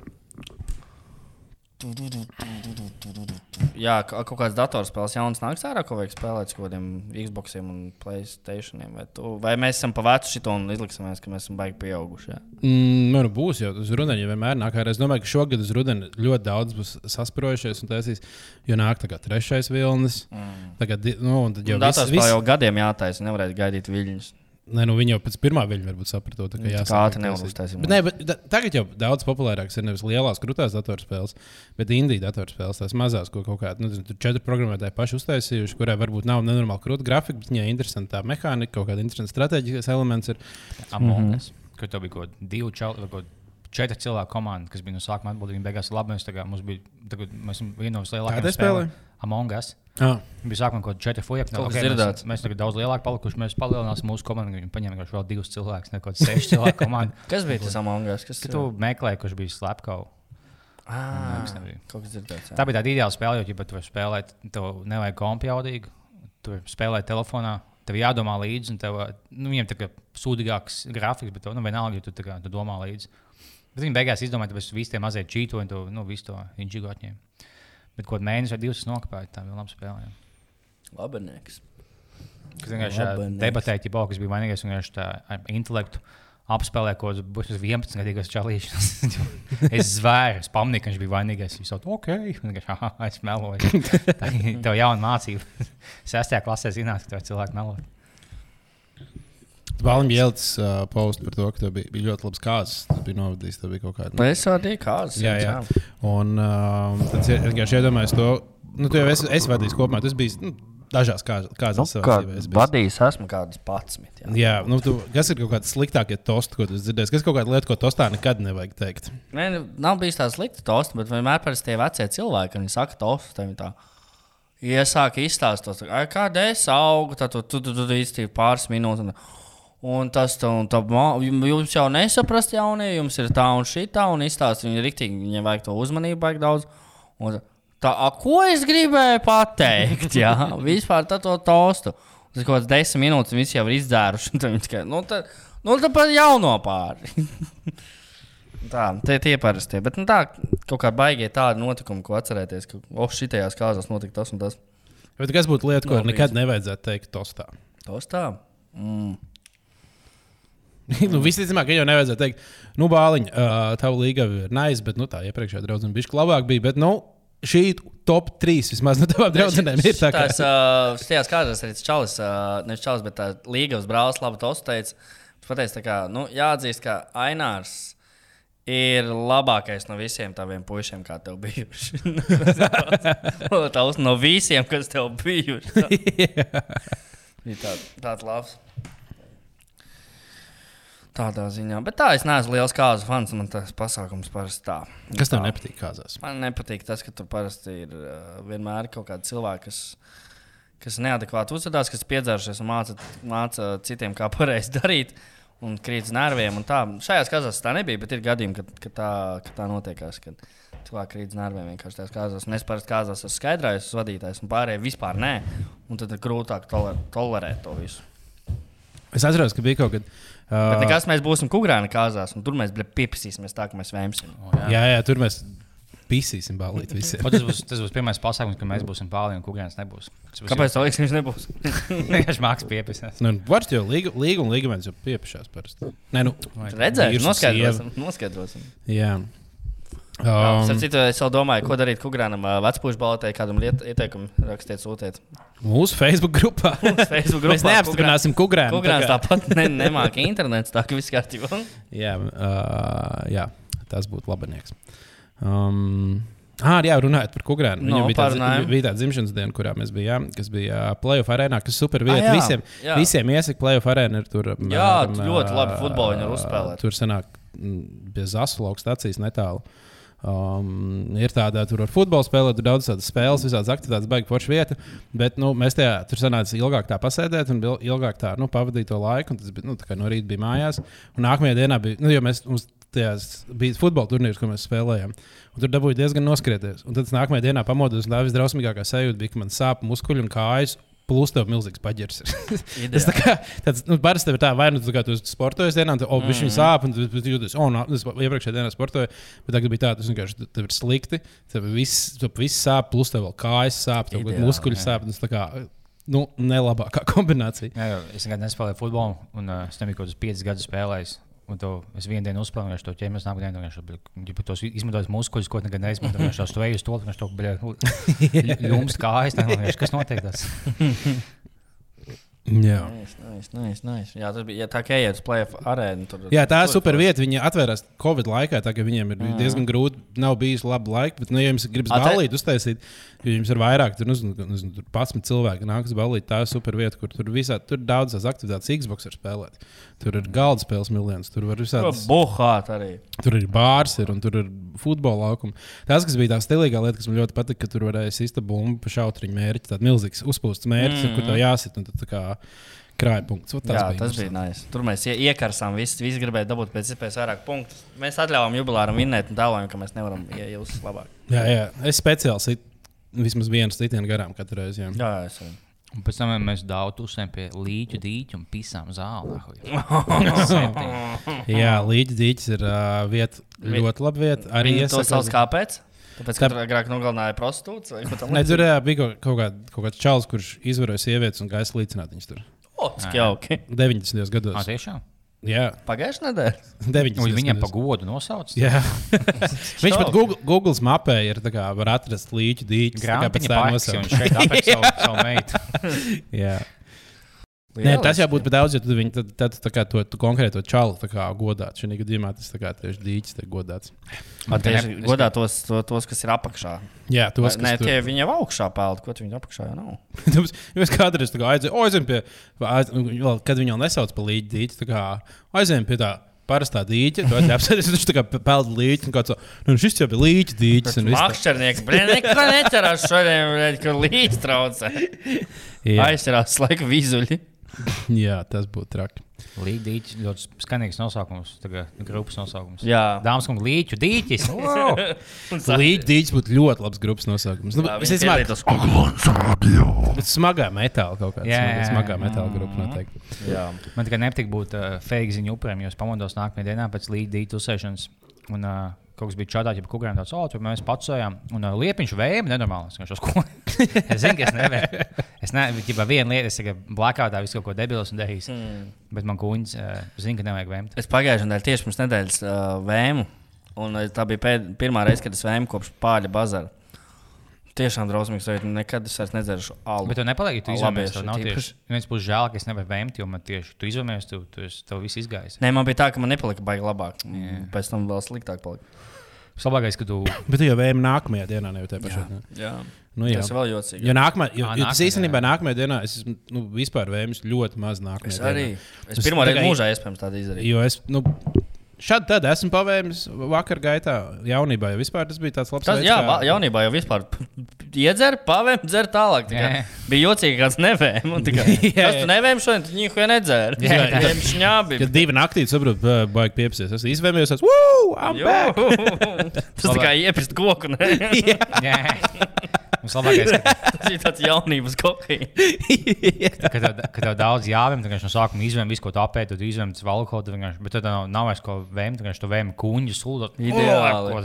[SPEAKER 1] Jā, ka- kaut kāds datorspēles jauns nāks ārā, ko vajag spēlēt ar kaut kādiem Xbox un Playstation. Vai, tu, vai mēs esam pavēci šito un izliksimies, ka mēs esam baigi pieauguši? Jā?
[SPEAKER 3] Mm, nu, nu, būs jau uz rudenī, ja vienmēr nāk ārā. Es domāju, ka šogad uz rudenī ļoti daudz būs sasprojušies un taisīs, jo nāk tā kā trešais vilnis. Mm. Tagad, di- nu, un tad jau
[SPEAKER 1] Jo
[SPEAKER 3] viss,
[SPEAKER 1] datorspēle
[SPEAKER 3] viss,
[SPEAKER 1] jau gadiem jātaisa, nevarēs gaidīt viļņus.
[SPEAKER 3] Nē, nu viņi jau pēc pirmā viņa varbūt saprata, ka jā,
[SPEAKER 1] Mm, ātri nevar uztaisīt.
[SPEAKER 3] Bet, nē, bet da, tagad jau daudz populārāks ir nevis lielās, krūtās datorspēles, bet indijas datorspēles, tās mazās, ko kaut kāda nu, tur četri programmētāji paši uztaisījuši, kurai varbūt nav nenormāli krūta grafika, bet viņai ir interesanta tā mehānika, kaut kāda interesanta strateģiskais elements. Ir. Mhm.
[SPEAKER 2] Amonas, kur tur bija kaut kādi divi čauli. vai kaut Četri cilvēki komanda, kas bija no sākuma atbildīga, beigās labi. Mēs tagad mums bija tagad, mēs esam viena no
[SPEAKER 3] Kādai
[SPEAKER 2] lielākajām
[SPEAKER 3] spēlē?
[SPEAKER 2] spēlēm. Among Us.
[SPEAKER 3] Ah,
[SPEAKER 2] Bija sākumā kaut kāda četri fujaki.
[SPEAKER 1] Kaut kas
[SPEAKER 2] mēs,
[SPEAKER 1] dzirdēts.
[SPEAKER 2] mēs tagad daudz lielāki palikuši. Mēs palielināsim mūsu komandu. Viņi paņēma vienkārši vēl divus cilvēkus, ne kaut kādu sešu cilvēku komandu.
[SPEAKER 1] Kas bija tas amulets? Kas
[SPEAKER 2] Kad tu meklēji, kurš bija slepkavs.
[SPEAKER 1] Ah,
[SPEAKER 2] Nekas nebija.
[SPEAKER 1] kaut kas dzirdēts. jā.
[SPEAKER 2] Tā bija tāda ideāla spēle, jo, ja tu vari spēlēt, tev nevajag kompi jaudīgi, tu vari spēlēt telefonā. Tev jādomā līdzi, un tev, nu, viņiem ir sūdīgāks grafiks, bet tev, nu, vienalga, ja tu, tā kā, tu domā līdzi. Bet viņi beigās izdomāja, ka visi tie mazie čīto un tu, nu, visu to inģigo atņēma. Bet kaut kādā mēnesī vai divas nokāpēji, tā bija laba spēle. jā.
[SPEAKER 1] Labanieks.
[SPEAKER 2] Kas vienkārši ā,
[SPEAKER 1] Labi, next.
[SPEAKER 2] debatēja, ja Bokas bija vainīgais, un vienkārši tā ar intelektu apspēlē kaut kādus 11 gadus čalīšus. es zvēru, es pamanīju, ka viņš bija vainīgais. Viņš teica, ok, un vienkārši, "Aha, es meloju. Tā ir tev jauna mācība. Sestajā klasē zinās, ka tev cilvēki melo.
[SPEAKER 3] Balim Jelts uh, posts par to, ka tev bija, bija ļoti labs kāds, tas bija novadījis, tev bija kaut kāda. nu. ah,
[SPEAKER 1] Mēs jau tādā kāzā.
[SPEAKER 3] Jā, jā. Un um, tad es vienkārši iedomājos to, nu, tu jau esi, esi vadījis kopumā. Tas bija nu, Dažās kā- kāzās
[SPEAKER 1] Nu,
[SPEAKER 3] savās
[SPEAKER 1] kā
[SPEAKER 3] dzīvēs bijis.
[SPEAKER 1] Vadījis esmu kādas 11. Jā.
[SPEAKER 3] Jā, nu, tu, kas ir kaut kāds sliktākie tosti, ko tu esi dzirdējis? Kas ir kaut kāda lieta, ko tostā nekad nevajag teikt?
[SPEAKER 1] Nē, nu, nav bijis tāds slikts tosts, bet vienmēr parasti tie vecie cilvēki, kad viņi saka tostu, tad viņi tā iesāk izstāstot, kāda es augu, tad tu tur tu, tu, īstenībā pāris minūtes. Un, un tas tā, un tā, ma- jum- jums jau nesaprast, jaunie, jums ir tā un šī tā, un izstāst viņi riktīgi, viņiem vajag to uzmanību, vajag daudz. Un, tā, a, ko es gribēju pateikt, jā, vispār tā to tostu. Tas kaut kāds desmit minūtes, un visi jau ir izdzēruši. un Tad viņi tikai, nu, tad, nu, tad pat jauno pāri. Tā, tie tie parastie. Bet nu, tā, kaut kā baigīja tādu notikumu, ko atcerēties, ka oh, šitajās kāzās notika tas un tas.
[SPEAKER 3] Bet kas būtu lieta, ko
[SPEAKER 1] Nav
[SPEAKER 3] nekad nevajadzētu teikt tostā?
[SPEAKER 1] Tos tā. Mm.
[SPEAKER 3] nu, Visticamāk, ka jau nevajadzētu teikt, nu, bāliņ, uh, tā līga ir nice, bet nu, tā iepriekšējā draudzene bija labāk. Bija, bet, nu, šī top 3 vismaz no tavām draudzenēm ir tā,
[SPEAKER 1] Tās,
[SPEAKER 3] ka
[SPEAKER 1] uh, šajās kāzās arī tas Čalis, uh, nevis Čalis, bet tā Līgavas brālis labi tos teica. Viņš pateica, tā kā, nu, jāatzīst, ka Ainārs ir labākais no visiem taviem puišiem, kā tev bijuši. Tavs no visiem, kas tev bijuši. Tā. Bija tā, tāds labs. Tādā ziņā. Bet tā, es neesmu liels kāzu fans. Man tas pasākums parasti tā.
[SPEAKER 3] kas tev nepatīk kāzās.
[SPEAKER 1] Man nepatīk tas, ka tur parasti ir uh, vienmēr kaut kādi cilvēki, kas, kas neadekvāti uzvedās, kas piedzēršies un māca, māca citiem, kā pareizi darīt. Un krīt uz nerviem. un tā. Šajās kazās tā nebija, bet ir gadījumi, kad, kad, tā, kad tā notiekās. Kad cilvēki krīt uz nerviem vienkārši tās kazās. Un es parasti kazās esmu skaidrājis, esmu vadītājs, un pārējie vispār nē. Un tad ir grūtāk toler, tolerēt to visu.
[SPEAKER 3] Es atceros, ka bija kaut kad.
[SPEAKER 1] Bet
[SPEAKER 3] Uh,
[SPEAKER 1] nekas mēs būsim kukurēni kazās, un tur mēs bļa, pieprasīsimies tā, ka mēs vēmsim.
[SPEAKER 3] jā, jā, tur mēs pisīsim bālīt visiem.
[SPEAKER 2] O, tas, būs, tas būs pirmais pasākums, kad mēs būsim pāri un kurienes nebūs. Tas būs
[SPEAKER 1] Kāpēc tā liekas, viņš nebūs?
[SPEAKER 2] Vienkārši mākslinieks pieprasījis.
[SPEAKER 3] Nu, Varbūt jau līga, līga un līgumens jau piepušās parasti. Nē, nu,
[SPEAKER 1] Redzēsim,
[SPEAKER 3] vīrs un
[SPEAKER 1] noskaidrosim. noskaidrosim.
[SPEAKER 3] sieva. Jā.
[SPEAKER 1] Um,
[SPEAKER 3] Um,
[SPEAKER 1] Citu, es vēl domāju, ko darīt Kukrānam, vecpuļu balotē, kādam liet- ieteikumam rakstiet, sūtiet.
[SPEAKER 3] mūsu Facebook grupā.
[SPEAKER 1] Facebook
[SPEAKER 3] Mēs
[SPEAKER 1] grupā
[SPEAKER 3] neapstiprināsim Nu, kukurēnu.
[SPEAKER 1] Kukrāns tāpat ne, nemāca internets, tā ka viss kārtībā.
[SPEAKER 3] Jā, uh, jā, tas būtu labanieks. Um, Ah, jā, runājot par kukurēnu.
[SPEAKER 1] Nu,
[SPEAKER 3] Viņam bija tāda,
[SPEAKER 1] parunājam.
[SPEAKER 3] bija tāda dzimšanas diena, kurā mēs bijām, kas bija ā, playoff arēnā, kas super vieta.
[SPEAKER 1] Ah, jā,
[SPEAKER 3] visiem,
[SPEAKER 1] jā.
[SPEAKER 3] visiem iesaka, playoff arēna ir tur.
[SPEAKER 1] Jā,
[SPEAKER 3] apmēram,
[SPEAKER 1] tu ļoti labi
[SPEAKER 3] ā,
[SPEAKER 1] futbolu viņi var uzspēlēt.
[SPEAKER 3] Tur sanāk mm, pie Zaslauks stācijas netālu. Um, ir tāda, tur var futbolu spēlēt, tur daudz tādas spēles, visādas aktivitātes, baigta forša vieta. Bet nu, mēs tajā tur sanācām ilgāk tā pasēdēt un il- ilgāk tā nu, pavadīt to laiku. un Tas bija nu, tā kā no rīta bija mājās. Un nākamajā dienā bija, nu, jo mēs. Mums, Tajās bija futbola turnīrs, ko mēs spēlējām. Un tur dabūja diezgan noskrieties. Un tad es nākamajā dienā pamodos, un tā visdrausmīgākā sajūta bija, ka man sāp muskuļi un kājas, plus tev milzīgs paģirs. ir. Tas tā kā tāds, nu, parasti tev ir tā, vai nu tu kā tu sportojies dienā, un tu, oh, viņš mm. sāp, un tu, tu jūties, oh, no, es iepriekšējā dienā sportoju, bet tagad bija tā, tas vienkārši tu- tev ir slikti, tev viss, tev viss sāp, plus tev vēl kājas sāp, tev
[SPEAKER 1] Ideāli,
[SPEAKER 3] Ideāli, muskuļi jā. sāp, un tas tā kā, nu, nelabākā kombinācija.
[SPEAKER 2] Jā, jo es nekad nespēlēju futbolu, un uh, es nebiju kaut kādus piecus gadus spēlējis. Un to es vienu dienu uzspēlēju, jau to ķēmu, nākamā dienā vienkārši bļa, gribu tos izmantot muskuļus, ko nekad neizmantoju. Es to eju uz to, kurš to jums kājas, nemanāšu, kas notiek. Tas.
[SPEAKER 3] Jā.
[SPEAKER 1] Nice, nice, nice. Jā, tas bija ja tā kā ejiet uz playoff arēnu. Tur,
[SPEAKER 3] Jā, tā ir super vieta. Viņa atvērās Covid laikā. Tā kā viņiem ir diezgan grūti, nav bijis labi laika. Bet, nu, ja jums gribas
[SPEAKER 1] Ate-
[SPEAKER 3] balīt, uztaisīt, jo jums ir vairāk, tur, nezinu, tur, nezinu, tur 11 cilvēki nākas balīt. Tā ir super vieta, kur tur visā tur daudzas aktivitātes, Xbox var spēlēt. Tur ir galda spēles miljonus, tur var visādi.
[SPEAKER 1] Buhāt arī.
[SPEAKER 3] Tur ir bārs, ir, un tur ir futbola laukums. Tas, kas bija tā stilīgā lieta, kas man ļoti patika, ka tur varēja izspiest bumbu pa šautriņu mērķi. Tāds milzīgs uzpūsts mērķis, mm -hmm. kur tev jāsit. un tad tā kā Krājpunkts. Vot
[SPEAKER 1] Tas
[SPEAKER 3] Tas
[SPEAKER 1] Jā,
[SPEAKER 3] bija
[SPEAKER 1] bija tas bija nice. Tur mēs ie- iekarsām, visi, visi gribēja dabūt pēc iespējas vairāk punktu. Mēs atļāvām jubilāram vinnēt un dāvājām, ka mēs nevaram iejaust labāk.
[SPEAKER 3] Jā, jā, es speciāli sit, vismaz vienu sitienu garām katru reizi. Jā.
[SPEAKER 1] Jā, jā, es arī.
[SPEAKER 2] Un pēc tam mēs daudz uzsēm pie līķu dīķu un pisām ah, zālē. Nē,
[SPEAKER 3] jā līdzi dīķis ir uh, vieta, ļoti laba vieta. Arī
[SPEAKER 1] Viņi to
[SPEAKER 3] iesaka-
[SPEAKER 1] sauc kāpēc? Tāpēc, ka
[SPEAKER 3] Tā-
[SPEAKER 1] tur agrāk nogalināja prostitūts vai ko
[SPEAKER 3] Ne, tur
[SPEAKER 1] tamlīdzīgu.
[SPEAKER 3] jā, bija kaut- kaut, kād, kaut kāds čels, kurš izvaroja sievietes un gaisa līdzināt viņas tur.
[SPEAKER 1] O, cik jauki.
[SPEAKER 3] 90. gados.
[SPEAKER 2] Ah, tiešām.
[SPEAKER 3] Jā,
[SPEAKER 1] Pagājušajā nedēļā.
[SPEAKER 3] 90.
[SPEAKER 2] Un viņiem pa
[SPEAKER 3] gados.
[SPEAKER 2] godu nosauc.
[SPEAKER 3] Jā. Viņš pat
[SPEAKER 1] Šauki.
[SPEAKER 3] Google, Google's mapē ir tā kā var atrast līķu dīķi.
[SPEAKER 2] Grāmatiņa pāri visam. Viņš šeit apēk savu, savu meitu.
[SPEAKER 3] Jā. Nē, tas jau būtu par daudz, jo tad viņi tad, tad, tā kā to, to konkrēto čalu tā kā godātu. Šī gadījumā tas tā kā tieši dīķis tiek godāts.
[SPEAKER 1] Man tieši godā tos, to, tos, kas ir apakšā.
[SPEAKER 3] Jā, tos,
[SPEAKER 1] Nē,
[SPEAKER 3] kas tur-
[SPEAKER 1] tie viņi jau augšā peld, ko tu viņi apakšā jau nav.
[SPEAKER 3] Tāpēc, jo es kādreiz tā kā aizēju, "O, aizejam pie, aiz, vēl, kad viņi jau nesauc par līķi dīķi, tā kā aizējām pie tā parastā dīķa, tad apsēties, viņš tā kā peld līķi, un kāds, nu šis jau bija līķi dīķis. un viss tā.
[SPEAKER 1] Mākslinieks, blēņ, neko necerās šodien, blēņ, kur līdz traucē.
[SPEAKER 3] Jā,
[SPEAKER 1] Aizcerās laika vizuļi.
[SPEAKER 3] jā, tas būtu traki.
[SPEAKER 2] Līķis dīķis, ļoti skanīgs nosaukums, tagad grupas nosaukums.
[SPEAKER 1] Jā.
[SPEAKER 2] dāmas un kungi, līķu dīķis.
[SPEAKER 3] Līķi dīķis būtu ļoti labs grupas nosaukums. Nu,
[SPEAKER 1] Jā,
[SPEAKER 3] es
[SPEAKER 1] viņi
[SPEAKER 3] domāju,
[SPEAKER 1] pielieto skolu.
[SPEAKER 3] ka smagā metāla kaut kāda.
[SPEAKER 2] Jā, jā,
[SPEAKER 3] Yeah. Smagā
[SPEAKER 2] jā.
[SPEAKER 3] metāla grupa noteikti.
[SPEAKER 1] Jā.
[SPEAKER 2] Man tikai nepatīk būt uh, fake ziņu upuriem, jo es pamodos nākamajā dienā pēc līķa dīķa uzsēšanas. Un, uh, Kaut kas bija čādā, ja kukurūzā tāds - oh, tur mēs pacēlām. Un uh, liepiņš vēja, nenormāli. Es vienkārši ko. Es zinu, ka es nevaru. Es nezinu, kā viena lieta, es tikai blakātā visu kaut ko debilos un dehīs. Mm. Bet man kuņģis uh, zina, ka nevajag vēmt.
[SPEAKER 1] Es pagājušajā nedēļā tieši pirms nedēļas uh, vēmu, un eh, tā bija pēd, pirmā reize, kad es vēmu kopš pāļa bazara. Tiešām drausmīgs, jo nekad es vairs nedzeršu alu.
[SPEAKER 2] Bet tu nepalieki, tu
[SPEAKER 1] Labi,
[SPEAKER 2] izvēlējies.
[SPEAKER 1] es
[SPEAKER 2] Tev nav
[SPEAKER 1] tīpaši.
[SPEAKER 2] tieši. Viens būs žēl, ka es nevaru vēmt, jo man tieši tu izvēlējies, tu, tu, esi- tev viss izgājis.
[SPEAKER 1] Nē, man bija tā, ka man nepalika baigi labāk. Yeah. Pēc tam vēl sliktāk palika.
[SPEAKER 2] Labākais, ka tu
[SPEAKER 3] Bet tu jau vējam nākamajā dienā, ne jau tajā pašā. dienā.
[SPEAKER 1] Jā.
[SPEAKER 3] Nu, jā.
[SPEAKER 1] Tas ir vēl jocīgi.
[SPEAKER 3] Jo nākamā, jo,
[SPEAKER 2] Ā,
[SPEAKER 3] jo tas
[SPEAKER 2] nākamajā,
[SPEAKER 3] īstenībā nākamajā dienā es esmu, nu, vispār vēmis ļoti maz nākamajā.
[SPEAKER 1] Es arī.
[SPEAKER 3] dienā.
[SPEAKER 1] Es pirmo reizi
[SPEAKER 3] tagad-
[SPEAKER 1] mūžā iespējams tādu izdarīju.
[SPEAKER 3] Jo es nu, šādi tad esmu pavēmis vakar gaitā, jaunībā. Jo vispār tas bija tāds labs
[SPEAKER 1] Tas,
[SPEAKER 3] veids,
[SPEAKER 1] jā,
[SPEAKER 3] kā-
[SPEAKER 1] va- jaunībā jau vispār iedzēra, pavēm, dzēra tālāk. tikai.
[SPEAKER 2] Jā.
[SPEAKER 1] Bija jocīgi, ka kāds nevēm. un tikai,
[SPEAKER 3] Jā,
[SPEAKER 1] Kas
[SPEAKER 3] jā.
[SPEAKER 1] tu nevēm šodien, tu ņihu nedzēri.
[SPEAKER 3] Jā, jā.
[SPEAKER 1] Viņam šņābi.
[SPEAKER 3] Kad divi naktī saprotu, baigi piepsies. Es izvēlējos, tas wow, I'm
[SPEAKER 1] Jo.
[SPEAKER 3] back!
[SPEAKER 1] Tas tā kā iepirst koku. ne?
[SPEAKER 2] Jā, mums labākais, ka,
[SPEAKER 1] Tas ir tāds jaunības koks.
[SPEAKER 2] ka, tev, ka tev daudz jāvēm, tad no sākuma izvēlēties visu, ko tu apēdi, tad izvēlēties alkoholu, tad vienkārši- bet tad nav, nav vairs ko vēmt, tad tu vēmi kuņģi sūdu.
[SPEAKER 1] Ideāli.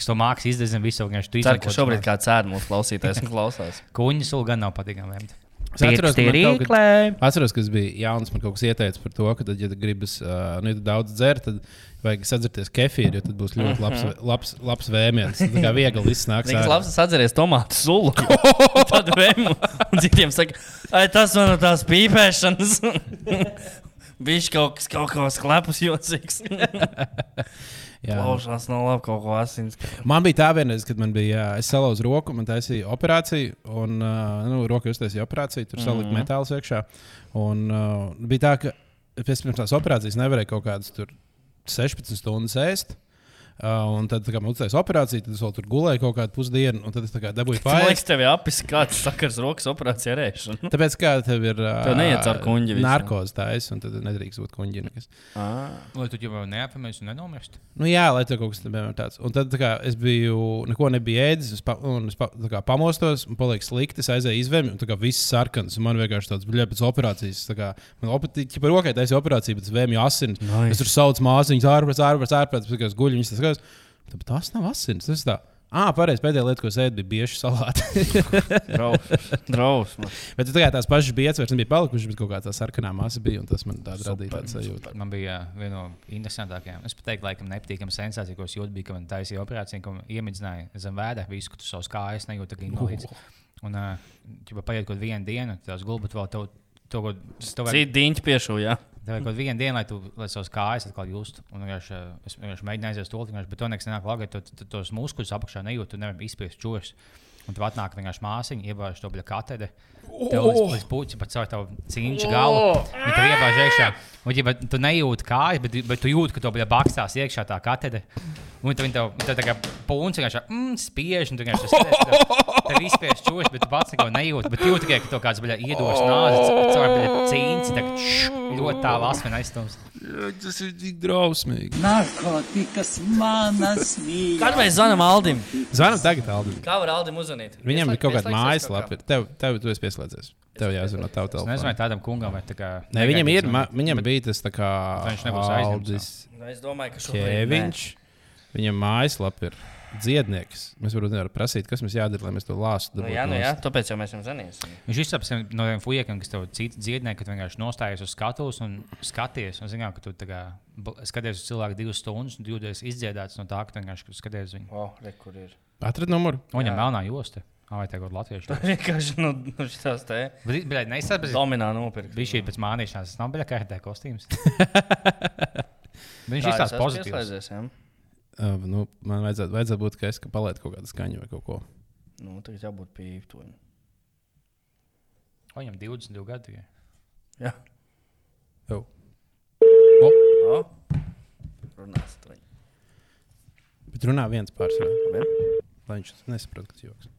[SPEAKER 2] Kas to mākslas izdarījis, visu vienkārši tu
[SPEAKER 1] Ceru, ka šobrīd kāds ēd mūsu klausītājs un klausās.
[SPEAKER 2] Kuņģi sūdu gan nav patīkami vēmt.
[SPEAKER 3] Es atceros, ka man kaut kad- atceros, ka tas bija jauns. Man kaut kas ieteica par to, ka, tad, ja tu gribas uh, nu, ja tu daudz dzert, tad vajag sadzerties kefīru, jo tad būs ļoti labs, labs, labs vēmiens. Tad Tā kā viegli iznāks.
[SPEAKER 1] Nīks
[SPEAKER 3] ārā.
[SPEAKER 1] labs atceries tomātu sulu. Un Tad vēmu. Un citiem saka, ai, tas man no tās pīpēšanas. Viņš kaut kas kaut kā sklēpus jocīgs.
[SPEAKER 3] Jā.
[SPEAKER 1] Plaušās no labi kaut ko asins.
[SPEAKER 3] Man bija tā vienreiz, kad man bija, jā, es salauzu roku, man taisīja operāciju, un uh, nu, roka uztaisīja operāciju, tur salika
[SPEAKER 1] Mhm.
[SPEAKER 3] mm -hmm. metāls iekšā. Un uh, bija tā, ka pēc pirms tās operācijas nevarēja kaut kādas tur 16 stundas ēst. Uh, un tad, tā kā man uztaisīja operāciju, tad es vēl tur gulēju kaut kādu pusdienu, un tad es tā kā dabūju
[SPEAKER 1] Man liekas,
[SPEAKER 3] pāri.
[SPEAKER 1] tev ir apis kāds sakars rokas operācijā rēšana.
[SPEAKER 3] Tāpēc, kā tev ir. Uh,
[SPEAKER 1] Tev neiet caur kuņģi visu.
[SPEAKER 3] Narkoze taisa, un tad nedrīkst būt kuņģi. Nekas.
[SPEAKER 2] Lai tu jau neapēmies un nenomirst.
[SPEAKER 3] Nu, jā, lai tur kaut kas tam bija tāds. Un tad tā kā, es biju, neko nebiju ēdis, es pa, un es pa, tā kā, pamostos, un palika slikti. Es aizēju izvēmi, un tā kā viss sarkans. un Man vienkārši tāds bija pēc operācijas. tā Kā, man operatīvi par rokai taisīja operāciju, bet zvēmi asins. Es tur saucu māsiņas, ārpus, ārpus, ārpus, kā es guļu. Viņas tas skatās, "Tā, bet tās nav asins. Tas ir tā. Ah, pareizi. Pēdējā lieta, ko es ēdu, bija bieži salāti.
[SPEAKER 1] Drausmas.
[SPEAKER 3] bet tu tā kā tās pašas bija ietverts, nebija palikušas, bet kaut kā tā sarkanā masa bija, un tas man tā radīja tādu sajūtu.
[SPEAKER 2] Man bija ā, viena no interesantākajām. Es pateiktu, laikam, nepatīkama sensācija, ko es jūtu, bija, ka man taisīja operācija, ko iemidzināja zem vēja, visu, ko tu savus kājas nejūti, kā invalīds.
[SPEAKER 1] Uhuh.
[SPEAKER 2] Un, ja paiet kaut kāda diena, tad tās gulbi vēl tev, tev, kaut- tev vajag-
[SPEAKER 1] Citi diņķi piešūja.
[SPEAKER 2] tev vajag kaut kādu vienu dienu, lai tu lai savus kājas atkal justu. Un vienkārši, ā, es vienkārši mēģināju aizies to lietu, bet to nekas nenāk labi, jo tu tos muskuļus apakšā nejūti, tu nevari izspiest čūskas. Un tu atnāk vienkārši māsiņa, iebāž to bļa katedē. Tev līdz, līdz puķi pat savu tavu cīņu galu. Viņa tev iebāž iekšā. Un, ja bet tu nejūti kājas, bet, bet tu jūti, ka to bļa bakstās iekšā tā katedē. Un tad viņi tev tā, tā kā pūns vienkārši mm, spiež, un tu vienkārši spiež. Tev izspiež čūskas, bet tu pats neko nejūti. Bet jūti tikai, ka to kāds bļa iedos nāzes, caur bļa cīņas, tā kā čš, ļoti tālu asmeni aizstums.
[SPEAKER 3] Tas ir tik drausmīgi.
[SPEAKER 6] narkotikas manas mīļās.
[SPEAKER 1] Kad mēs zvanām Aldim?
[SPEAKER 3] Zvanam tagad, Aldi.
[SPEAKER 1] Kā var Aldim uzzvanīt?
[SPEAKER 3] Viņam ir kaut kāda
[SPEAKER 1] Pieslēgsies kaut
[SPEAKER 3] mājaslapa. ir. Tev, tev tu esi pieslēdzies. Tev jāzina no tava
[SPEAKER 2] Es nezinu,
[SPEAKER 3] telefona.
[SPEAKER 2] vai tādam kungam vai tā kā.
[SPEAKER 3] Nē, viņam ir,
[SPEAKER 2] negaidīt,
[SPEAKER 3] ma, viņam bija tas tā kā
[SPEAKER 2] viņš nebūs aizņemts,
[SPEAKER 3] Aldis
[SPEAKER 1] Nu, Es domāju, ka šobrīd nē.
[SPEAKER 3] Kēviņš. Viņam mājaslapa ir dziednieks. Mēs varbūt nevaram prasīt, kas mums jādara, lai mēs to lāstu.
[SPEAKER 1] Nu,
[SPEAKER 3] dabūtu
[SPEAKER 1] jā, nu, jā,
[SPEAKER 3] nost.
[SPEAKER 1] tāpēc jau mēs viņam zvanīsim.
[SPEAKER 2] Viņš izsaka no tiem fujekiem, kas tev cits dziedināja, kad vienkārši nostājies uz skatuves un skaties. Un zinām, ka tu tā kā bl- skaties uz cilvēku divas stundas un jūties izdziedāts no tā, ka tu vienkārši skaties uz viņu.
[SPEAKER 1] Oh, re, kur ir?
[SPEAKER 3] Atrad numuru.
[SPEAKER 2] Un viņam melnā josta. Ah, vai tagad latviešu?
[SPEAKER 1] Vienkārši nu, no, no šitās te
[SPEAKER 2] Bet, bet neizsāpēs.
[SPEAKER 1] dominā nopirkt.
[SPEAKER 2] Bija šī pēc mānīšanās, tas nav bijis kārtē kostīms. Viņš
[SPEAKER 1] Tā, es
[SPEAKER 2] izstāsta
[SPEAKER 1] esmu
[SPEAKER 2] pozitīvi.
[SPEAKER 1] pieslēdzies, jā.
[SPEAKER 3] Uh, nu, man vajadzētu, vajadzētu būt, ka es ka palaidu kaut kādu skaņu vai kaut ko.
[SPEAKER 1] Nu, tagad jābūt pīptoņam.
[SPEAKER 2] Viņam 22 gadu tikai.
[SPEAKER 1] Jā.
[SPEAKER 3] Jau.
[SPEAKER 1] O. Runās tur.
[SPEAKER 3] Bet runā viens pārsvarā,
[SPEAKER 1] Labi.
[SPEAKER 3] lai viņš nesaprot, kas joks.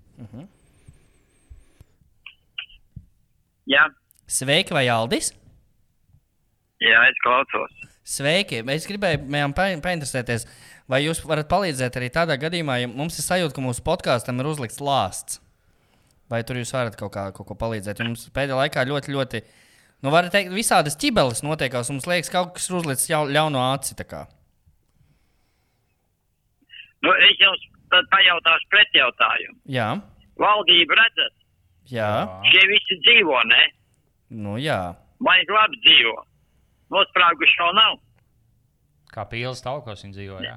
[SPEAKER 8] Jā,
[SPEAKER 1] Sveiki, vai Aldis?
[SPEAKER 8] jā, es klausos.
[SPEAKER 1] Sveiki! Es gribēju mēm pa- painteresēties, vai jūs varat palīdzēt arī tādā gadījumā, ja mums ir sajūta, ka mūsu podkāstam ir uzlikts lāsts. Vai tur jūs varat kaut, kā, kaut ko palīdzēt? Jo Mums pēdējā laikā ļoti, ļoti, nu, var teikt, visādas ķibeles notiekās. Mums liekas, ka kaut kas ir uzlicis jau ļauno aci. tā kā.
[SPEAKER 8] Nu, es jums tad pajautāšu pretjautājumu.
[SPEAKER 1] Jā,
[SPEAKER 8] Valdība redzat,
[SPEAKER 1] jā,
[SPEAKER 8] šie visi dzīvo, ne?
[SPEAKER 1] nu, jā.
[SPEAKER 8] Vai labi dzīvo? Nosprāguši vēl nav.
[SPEAKER 2] Kā pīles taukos viņa dzīvoja.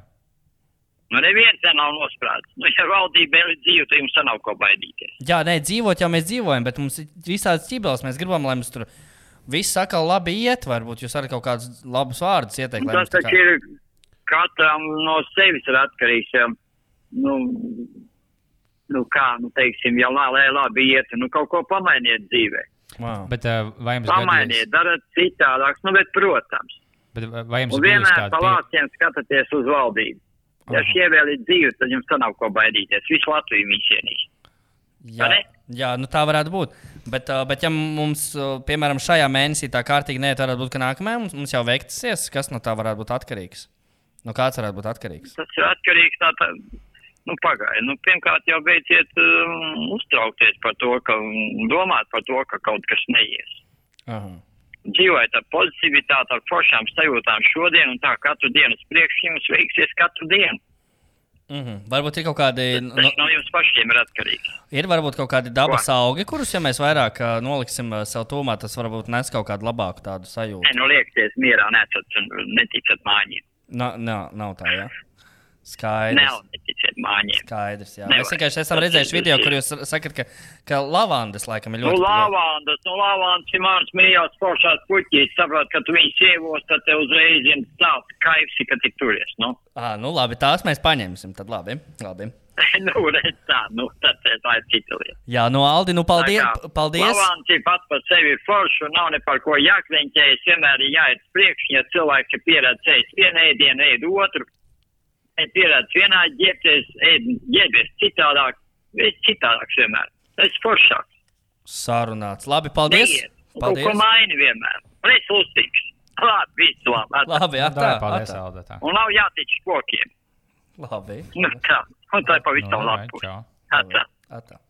[SPEAKER 8] Nu, neviens te nav nosprādzis. Nu, ja valdība ir dzīva, tad jums te nav ko baidīties.
[SPEAKER 1] Jā, nē, dzīvot jau mēs dzīvojam, bet mums ir visādas ķibeles. Mēs gribam, lai mums tur viss atkal labi iet. Varbūt jūs varat kaut kādus labus vārdus ieteikt.
[SPEAKER 8] Un
[SPEAKER 1] lai mums
[SPEAKER 8] Nu, tas
[SPEAKER 1] nu tā
[SPEAKER 8] taču
[SPEAKER 1] kā-
[SPEAKER 8] ir katram no sevis ir atkarīgs. ja, Nu, nu kā, nu, teiksim, ja lā- lai labi iet, nu, kaut ko pamainiet dzīvē.
[SPEAKER 1] Vau.
[SPEAKER 2] Bet uh, vai jums
[SPEAKER 8] Pamainiet, dariet citādāk, nu, bet, protams.
[SPEAKER 2] Bet, uh, vai jums
[SPEAKER 8] Un
[SPEAKER 2] bija
[SPEAKER 8] vienmēr
[SPEAKER 2] kāda
[SPEAKER 8] pa
[SPEAKER 2] pie...
[SPEAKER 8] vāciem skatāties uz valdību. Ja šie vēl ir dzīvi, tad jums tā nav ko baidīties. Visu Latviju viņš ienīst.
[SPEAKER 1] Jā,
[SPEAKER 8] Vai ne?
[SPEAKER 1] jā nu tā varētu būt. Bet, uh, bet ja mums, uh, piemēram, šajā mēnesī tā kārtīgi neiet, varētu būt, ka nākamajā mums, mums jau veiksies, kas no tā varētu būt atkarīgs. No kāds varētu būt atkarīgs?
[SPEAKER 8] Tas ir atkarīgs no tā. Nu, pagaidi. Nu, pirmkārt, jau beidziet um, uztraukties par to, ka um, domāt par to, ka kaut kas neies.
[SPEAKER 1] Aha.
[SPEAKER 8] Dzīvojiet ar pozitivitāti, ar foršām sajūtām šodien, un tā katru dienu uz priekšu jums veiksies katru dienu.
[SPEAKER 1] Mhm. Varbūt ir kaut kādi,
[SPEAKER 8] Tas
[SPEAKER 1] no,
[SPEAKER 8] no jums pašiem ir atkarīgs.
[SPEAKER 1] ir varbūt kaut kādi dabas augi, kurus, ja mēs vairāk uh, noliksim uh, sev tūmā, tas varbūt nes kaut kādu labāku tādu
[SPEAKER 8] Nē,
[SPEAKER 1] sajūtu.
[SPEAKER 8] nu liekties mierā, nesat un neticat māņiem.
[SPEAKER 1] Nā, nā, nav tā, jā. Skaidrs.
[SPEAKER 8] Nav neticiet māņiem.
[SPEAKER 1] Skaidrs, jā.
[SPEAKER 8] Nevar.
[SPEAKER 1] Mēs vienkārši esam
[SPEAKER 8] Tas ir
[SPEAKER 1] redzējuši video,
[SPEAKER 8] visi.
[SPEAKER 1] kur jūs sakat, ka, ka lavandas laikam ir
[SPEAKER 8] Nu,
[SPEAKER 1] ļoti.
[SPEAKER 8] lavandas, nu, lavandas ir mans mīļākais foršās puķis. Saprot, ka tu viņu sievos, tad tev uzreiz ir tāds kaifs, ka tu turies. Nu,
[SPEAKER 1] Ah, nu labi, tās mēs paņemsim. Tad labi. labi.
[SPEAKER 8] nu redz tā, nu, tad tā ir cita lieta.
[SPEAKER 1] Jā, no Aldi, nu paldies.
[SPEAKER 8] Tā kā
[SPEAKER 1] paldies.
[SPEAKER 8] Lavandas ir pats par sevi foršs un nav ne par ko jākliņķējas. Vienmēr ir jāiet priekš, ja cilvēki ir pieredzējis vienu ēdienu, ēd otru. Ir pieredzējis vienā ģērbties, ēd ģērbies citādāk. Viss citādāks vienmēr. Tas ir foršāk.
[SPEAKER 1] Sarunāts. Labi, paldies.
[SPEAKER 8] Neiet. Kaut ko
[SPEAKER 1] Paldies.
[SPEAKER 8] maini vienmēr. Un es uzticos. Labi, viss labi. atā.
[SPEAKER 1] Labi, jā, tā,
[SPEAKER 2] Tā ir paldies,
[SPEAKER 1] atā.
[SPEAKER 2] Alda. Tā.
[SPEAKER 8] Un nav jātic kokiem.
[SPEAKER 1] Labi.
[SPEAKER 8] Nu, tā. Un tā ir
[SPEAKER 2] Nu,
[SPEAKER 8] pavisam
[SPEAKER 2] alright,
[SPEAKER 8] labi.
[SPEAKER 2] čau.
[SPEAKER 8] Atā.
[SPEAKER 1] Atā.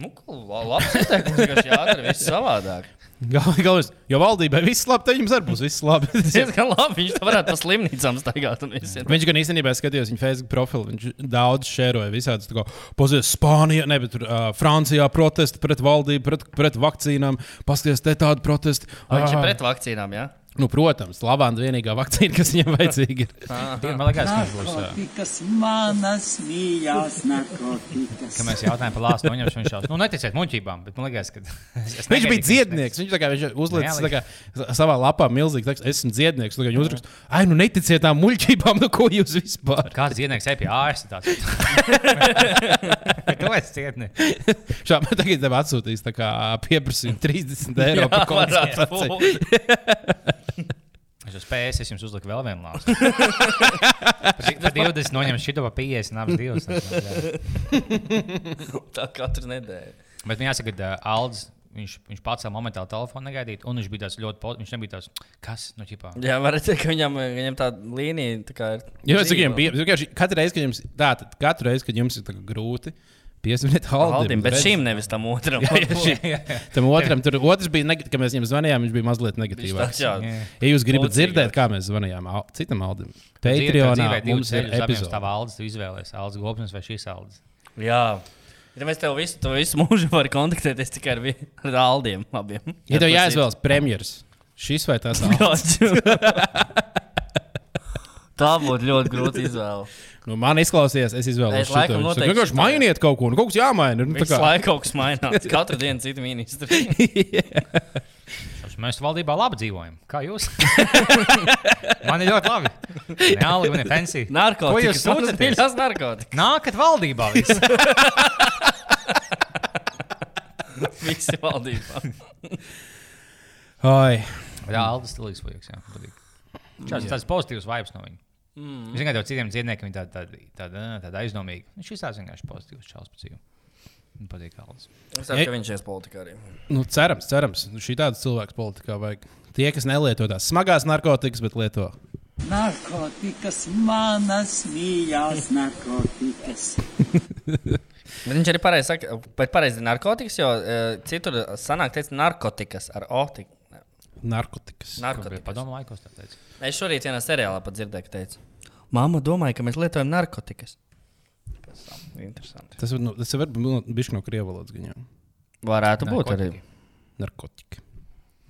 [SPEAKER 1] Nu, ko, la- labs ieteikums, ka jādara viss savādāk.
[SPEAKER 3] Galvenais, jo valdībai viss labi, tad jums arī būs viss labi.
[SPEAKER 1] Diezgan labi, viņš to varētu pa slimnīcām staigāt un visiem.
[SPEAKER 3] Viņš gan īstenībā skatījās viņa Facebook profilu. Viņš daudz šēroja visādi. Pozīs Spānijā, ne, bet tur, uh, Francijā protesti pret valdību, pret, pret vakcīnām. Paskaties, te tādi protesti.
[SPEAKER 1] Vai Viņš ir
[SPEAKER 3] Ah.
[SPEAKER 1] pret vakcīnām, jā?
[SPEAKER 3] Nu, protams, lavanda vienīgā vakcīna, kas viņam vajadzīga. ir.
[SPEAKER 2] Man liekas, ka viņš būs. eh, ā,
[SPEAKER 6] Narkotikas manas mīļās, narkotikas.
[SPEAKER 2] Ka mēs jautājām par lāstu noņemšanu. viņš jau- Nu, neticiet muļķībām, bet man liekas, ka. es- es
[SPEAKER 3] Viņš bija
[SPEAKER 2] negaidīju, ka
[SPEAKER 3] dziednieks. Viņš, tā kā, viņš uzlika
[SPEAKER 2] Jā,
[SPEAKER 3] tā kā, sa- savā lapā milzīgi, ka esmu dziednieks. Tagad viņš uzraksta, ah, nu neticiet tām muļķībām, nu ko jūs vispār.
[SPEAKER 2] Kāds dziednieks ej pie ārsta? tāds. Tu esi dziednieks.
[SPEAKER 3] Šādi man tagad tev atsūtīs tā kā pieprasījumu 30 eiro par konsultāciju.
[SPEAKER 2] Es uz PS es jums uzliku vēl vienu lāstu. Par cik- Par 20 noņem šito, par 50 nāks 20.
[SPEAKER 1] Tā katru nedēļu.
[SPEAKER 2] Bet man jāsaka, ka uh, Aldis. Viņš, viņš pats savā momentā telefonu negaidīja, un viņš bija tāds ļoti pozitīvs. Viņš nebija tāds, kas, nu, ķipā.
[SPEAKER 1] Jā, varat teikt, ka viņam, viņam tā līnija tā kā ir.
[SPEAKER 3] Jā, es tikai biju. vienkārši Katru reizi, kad jums, tā, tad katru reizi, kad jums ir tā kā grūti, piespriezt
[SPEAKER 1] Aldim,
[SPEAKER 3] Aldim.
[SPEAKER 1] bet
[SPEAKER 3] Redz,
[SPEAKER 1] šim nevis tam otram.
[SPEAKER 3] Tam otram, tur otrs bija, neg- kad mēs viņam zvanījām, viņš bija mazliet
[SPEAKER 1] Viņš
[SPEAKER 3] negatīvs.
[SPEAKER 1] tāds, jā.
[SPEAKER 3] Ja jūs gribat
[SPEAKER 1] Pulcīgāks.
[SPEAKER 3] dzirdēt, kā mēs zvanījām Al- citam Aldim,
[SPEAKER 2] Dzīve-
[SPEAKER 3] Patreonā
[SPEAKER 2] dzīvē divi
[SPEAKER 3] mums ir
[SPEAKER 2] ceļi uz abiem uz
[SPEAKER 3] epizode.
[SPEAKER 2] tava Aldis, tu izvēlējies Aldis Gopnis vai šīs Aldis.
[SPEAKER 1] Jā. Ja mēs tev visu, tu visu mūžu varam kontaktēties tikai ar, vi, ar Aldiem. Abiem.
[SPEAKER 3] Ja tev jāizvēlas premjeras, šis vai tas Aldim?
[SPEAKER 1] Daudz. Tā būtu ļoti grūta izvēle.
[SPEAKER 3] Nu, man izklausījās, es izvēlos
[SPEAKER 1] Es laikam
[SPEAKER 3] šo
[SPEAKER 1] noteikti
[SPEAKER 3] te vienkārši
[SPEAKER 1] šito.
[SPEAKER 3] mainiet kaut ko. Nu, kaut kas jāmaina. Nu, tā
[SPEAKER 1] Visu
[SPEAKER 3] kā-
[SPEAKER 1] laiku kaut kas mainās. Katru dienu citu ministru.
[SPEAKER 2] Mēs valdībā labi dzīvojam. Kā jūs? man ir ļoti labi. Jā, labi, man ir pensija. Ko jūs
[SPEAKER 1] Narkotikas.
[SPEAKER 2] sūdzaties?
[SPEAKER 1] Tas narkotikas.
[SPEAKER 2] Nākat valdībā. visi.
[SPEAKER 1] Visi valdībā.
[SPEAKER 3] Ai,
[SPEAKER 2] Jā, Aldis Stilīgs vajag. Jā, patīk. Šāds tāds pozitīvs vibes no viņa. Mm. Ziniet, jau citiem dziedniekiem viņa tāda tād, tād, tād aizdomīga. Viņš ir tāds vienkārši pozitīvs čels pēc dzīves. Man patīk Aldis.
[SPEAKER 1] Es saprotu, ka viņš ies politikā arī.
[SPEAKER 3] nu, cerams, cerams. Nu, Šī tāda cilvēka politikā vajag. Tie, kas nelieto tās smagās narkotikas, bet lieto.
[SPEAKER 6] Narkotikas, manas mīļās narkotikas.
[SPEAKER 1] Bet viņš arī pareizi saka, bet pareizi ir narkotikas, jo uh, citur sanāk teica narkotikas ar O. tik- ne,
[SPEAKER 3] Narkotikas.
[SPEAKER 2] Kāpēc
[SPEAKER 1] Narkotikas.
[SPEAKER 2] padomu laikos tā teica?
[SPEAKER 1] Es šorīt vienā seriālā pat dzirdēju, ka teica, mamma domāja, ka mēs lietojam narkotikas. Tas tā, Interesanti.
[SPEAKER 3] Tas var, nu, tas var būt bijis no krievu valodas gaņām.
[SPEAKER 1] Varētu būt arī.
[SPEAKER 3] Narkotika.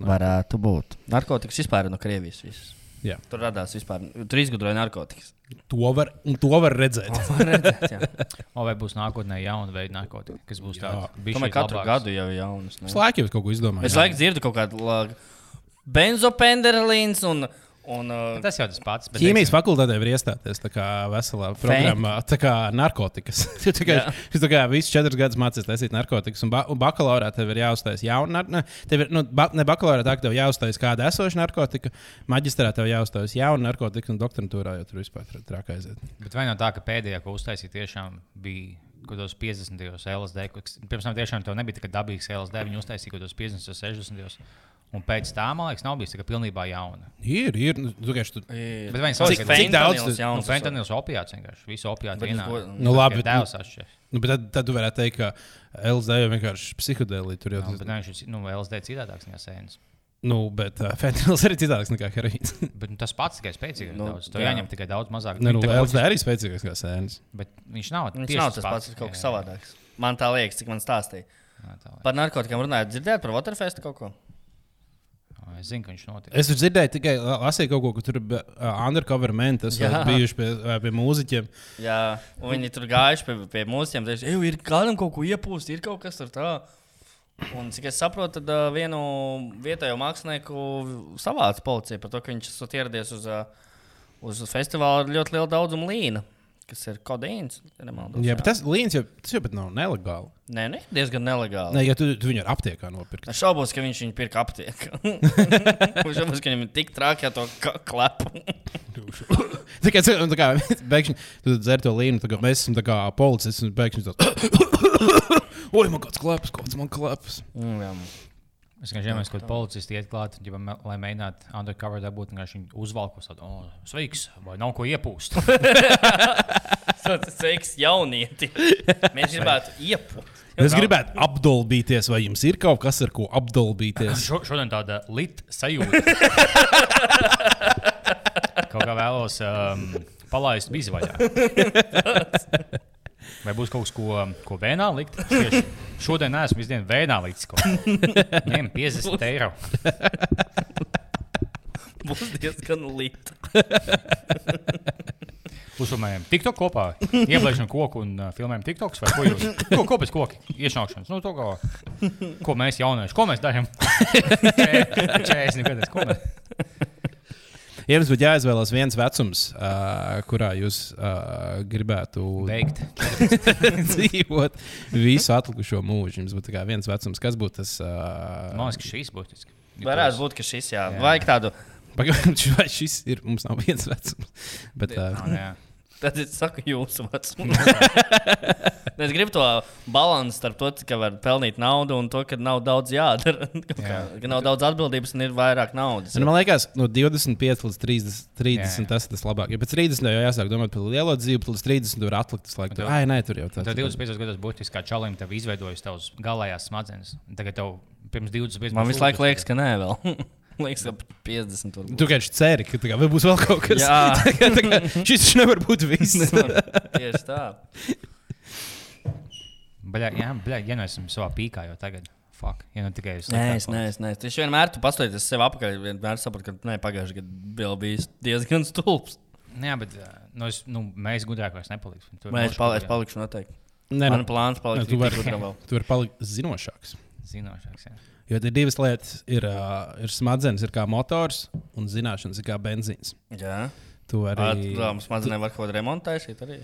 [SPEAKER 1] Varētu būt. Narkotikas vispār ir no Krievijas. Visas.
[SPEAKER 3] Jā.
[SPEAKER 1] Tur radās vispār. Tur izgudroja narkotikas.
[SPEAKER 3] To var, un to var redzēt.
[SPEAKER 1] Redzēt, jā.
[SPEAKER 2] O, vai būs nākotnē jauna veida narkotika, kas būs tāda -
[SPEAKER 1] Tomēr katru gadu jau ir jaunas. ne?
[SPEAKER 3] Es laikam kaut ko izdomāju.
[SPEAKER 1] Es laikam dzirdu kaut kādu la- benzopenderlīnu un, un uh,
[SPEAKER 2] Tas jau tas pats. bet
[SPEAKER 3] Ķīmijas
[SPEAKER 2] teiksim,
[SPEAKER 3] fakultātē var iestāties tā kā veselā programmā, tā kā narkotikas. Tu tā kā, tu tā kā visu četrus gadus mācīties taisīt narkotikas, un, ba un bakalaurā tev ir jāuztais jauna, nar- ne, tev ir, nu, ba ne bakalaurā tā, ka tev jāuztais kāda esoša narkotika, maģistrā tev jāuztais jauna narkotika, un doktorantūrā jau tur vispār tra- trāk aiziet.
[SPEAKER 2] Bet vai no tā, ka pēdējā, ko uztaisīja, tiešām bija kaut kādos 50. LSD, kas pirms tam tiešām tev nebija tāds dabīgs LSD, viņi uztaisīja kaut kādos 50. un 60. Un pēc tam, man liekas, nav bijis tā kā pilnībā jauna.
[SPEAKER 3] Ir, ir, nu, tu vienkārši tu-
[SPEAKER 2] Bet viņi
[SPEAKER 1] Cik-
[SPEAKER 2] sauc,
[SPEAKER 1] cik
[SPEAKER 2] ka
[SPEAKER 3] cik
[SPEAKER 1] fentanils
[SPEAKER 3] daudz tu-
[SPEAKER 2] Nu,
[SPEAKER 1] jauns uzsāk?
[SPEAKER 2] fentanils opiāts vienkārši. Visu opiātu
[SPEAKER 1] Bet
[SPEAKER 2] vienā.
[SPEAKER 1] uz ko-
[SPEAKER 3] Nu, labi, bet-
[SPEAKER 2] Tēvs atšķiras.
[SPEAKER 3] nu, bet tad, tad tu varētu teikt, ka LSD jau vienkārši psihodēlī tur jau
[SPEAKER 2] Nu, bet nē, viņš ir nu, LSD citādāks nekā sēnes.
[SPEAKER 3] Nu, bet uh, fentanyls arī citādāks nekā heroīns.
[SPEAKER 2] Bet nu, tas pats tikai spēcīgāk.
[SPEAKER 1] Nu,
[SPEAKER 2] Nu, daudz. Tev
[SPEAKER 1] jā.
[SPEAKER 2] jāņem tikai daudz mazāk.
[SPEAKER 3] Nē, nu,
[SPEAKER 2] Tā kā
[SPEAKER 3] LSD arī spēcīgāks kā sēnes.
[SPEAKER 2] Bet viņš nav
[SPEAKER 1] Viņš
[SPEAKER 2] tieši
[SPEAKER 1] nav tas pats, tas kaut
[SPEAKER 2] Jā,
[SPEAKER 1] kas savādāks. Man tā liekas, cik man stāstīja.
[SPEAKER 2] jā, tā lai-
[SPEAKER 1] Par narkotikām runājot, dzirdējāt par Waterfestu kaut
[SPEAKER 2] Jā,
[SPEAKER 1] ko?
[SPEAKER 2] Es zinu, ka viņš notiek.
[SPEAKER 3] Es tur dzirdēju, tikai la- lasīju kaut ko, ka tur bija uh, undercover mentis, kas
[SPEAKER 1] Jā.
[SPEAKER 3] bijuši pie, uh, pie mūziķiem.
[SPEAKER 1] Jā, un viņi tur gājuši pie, pie mūsiem, teica, ej, ir kādam kaut ko iepūst, ir kaut kas tur tā. Un cik es saprotu, tad ā, vienu vietējo mākslinieku savāca policija par to, ka viņš esot ieradies uz, ā, uz festivālu ar ļoti lielu daudzumu līnu, kas ir kodīns. ja nemaldos,
[SPEAKER 3] Jā, bet tas līnijas jau, tas jau pat nav nelegāli.
[SPEAKER 1] Nē, nē, diezgan nelegāli.
[SPEAKER 3] Nē, ja tu, tu viņu ar aptiekā nopirkt.
[SPEAKER 1] Es šaubos, ka viņš viņu pirka aptiekā. Es šaubos, ka viņam ir tik traki ar to ka- klepu.
[SPEAKER 3] Tā kā, tā kā pēkšņi tu dzer to līniju, tad mēs esam tā kā policists un pēkšņi tāds - oi, man kāds klaps, kāds man klaps.
[SPEAKER 1] Mm, jā.
[SPEAKER 2] Es domāju, ka kaut kāda policista iet klāt, ja, lai mēģinātu undercover dabūt, un viņš uzvalkos tādu oh, sveiks, vai nav ko iepūst.
[SPEAKER 1] Tas sveiks jaunieti. Mēs gribētu iepūst.
[SPEAKER 3] Es gribētu apdolbīties, vai jums ir kaut kas, ar ko apdolbīties?
[SPEAKER 2] Šo, šodien tāda līta sajūta. Kaut kā vēlos um, palaist bizvaļā. Vai būs kaut kas, ko, ko vēnā likt? Tieši šodien esmu izdevies vēnā likt. Viņam 50 eiro.
[SPEAKER 1] Būs diezgan līta.
[SPEAKER 2] Uzmējām TikTok kopā. Ieblēžam koku un uh, filmējam TikToks vai ko jūs? Ko, ko pēc koki? Iešanākšanas. Nu, to, ko, ko mēs jaunieši, ko mēs darām? 40 gadus. Ko mēs?
[SPEAKER 3] Ja jums būtu jāizvēlas viens vecums, uh, kurā jūs uh, gribētu
[SPEAKER 2] Beigt.
[SPEAKER 3] dzīvot visu atlikušo mūžu. Jums būtu tikai viens vecums, kas būtu tas. Uh,
[SPEAKER 2] Man liekas, ka šīs būtiski.
[SPEAKER 1] Varētu būt, ka šis jā. Vajag tādu.
[SPEAKER 3] Pagaidām, vai šis ir. Mums nav viens vecums. Bet, uh,
[SPEAKER 2] Jā.
[SPEAKER 1] Tad es saku, jūsu vecumu. es gribu to balansu starp to, ka var pelnīt naudu un to, ka nav daudz jādara. Jā.
[SPEAKER 2] Jā.
[SPEAKER 1] Ka nav daudz atbildības un ir vairāk naudas.
[SPEAKER 3] nu, man liekas, no 25 līdz 30, 30
[SPEAKER 2] Jā.
[SPEAKER 3] tas ir tas labākais. Ja pēc 30 jau jāsāk domāt par lielo dzīvi, tad līdz 30 var atlikt tas laiks.
[SPEAKER 2] tev-
[SPEAKER 3] Ai, nē, tur jau tā.
[SPEAKER 2] Tad 25 gados būtiski kā čalim tev izveidojas tavs galējās smadzenes. Tagad tev pirms 25
[SPEAKER 1] Man
[SPEAKER 2] būs
[SPEAKER 1] visu laiku
[SPEAKER 2] lūdzu.
[SPEAKER 1] liekas, ka nē, vēl. liekas, ka 50 tur būs.
[SPEAKER 3] Tu vienkārši ceri, ka tā kā, vai būs vēl kaut kas
[SPEAKER 1] Jā.
[SPEAKER 3] Tā kā- tā kā Šis taču nevar būt viss.
[SPEAKER 1] Tieši tā.
[SPEAKER 2] Bļa, jā, bļa, ja nu esam savā pīkā jau tagad. Fuck. Ja nu tikai es.
[SPEAKER 1] Nē, es neesmu. Es vienmēr tu paskaties sev apakaļ. Vienmēr saprotu, ka nē, pagājušajā gadā bija bijis diezgan stulbs.
[SPEAKER 2] Jā, bet ā, nu, es, nu, mēs gudrākos nepaliksim. Tur
[SPEAKER 1] Nē, es,
[SPEAKER 2] būšu
[SPEAKER 1] pal
[SPEAKER 2] gudrāk.
[SPEAKER 1] es palikšu noteikti.
[SPEAKER 3] Nē, nu,
[SPEAKER 1] Man plāns palikt
[SPEAKER 3] tu
[SPEAKER 1] tik
[SPEAKER 3] vari,
[SPEAKER 1] gudra vēl.
[SPEAKER 3] tu vari palikt zinošāks.
[SPEAKER 2] Zinošāks. jā.
[SPEAKER 3] Jo ir divas lietas. Ir, uh, ir smadzenes, ir kā motors, un zināšanas ir kā benzīns.
[SPEAKER 1] Jā,
[SPEAKER 3] Tu
[SPEAKER 1] tā
[SPEAKER 3] arī
[SPEAKER 1] ir smadzenē var kaut ko remontēt taisīt arī.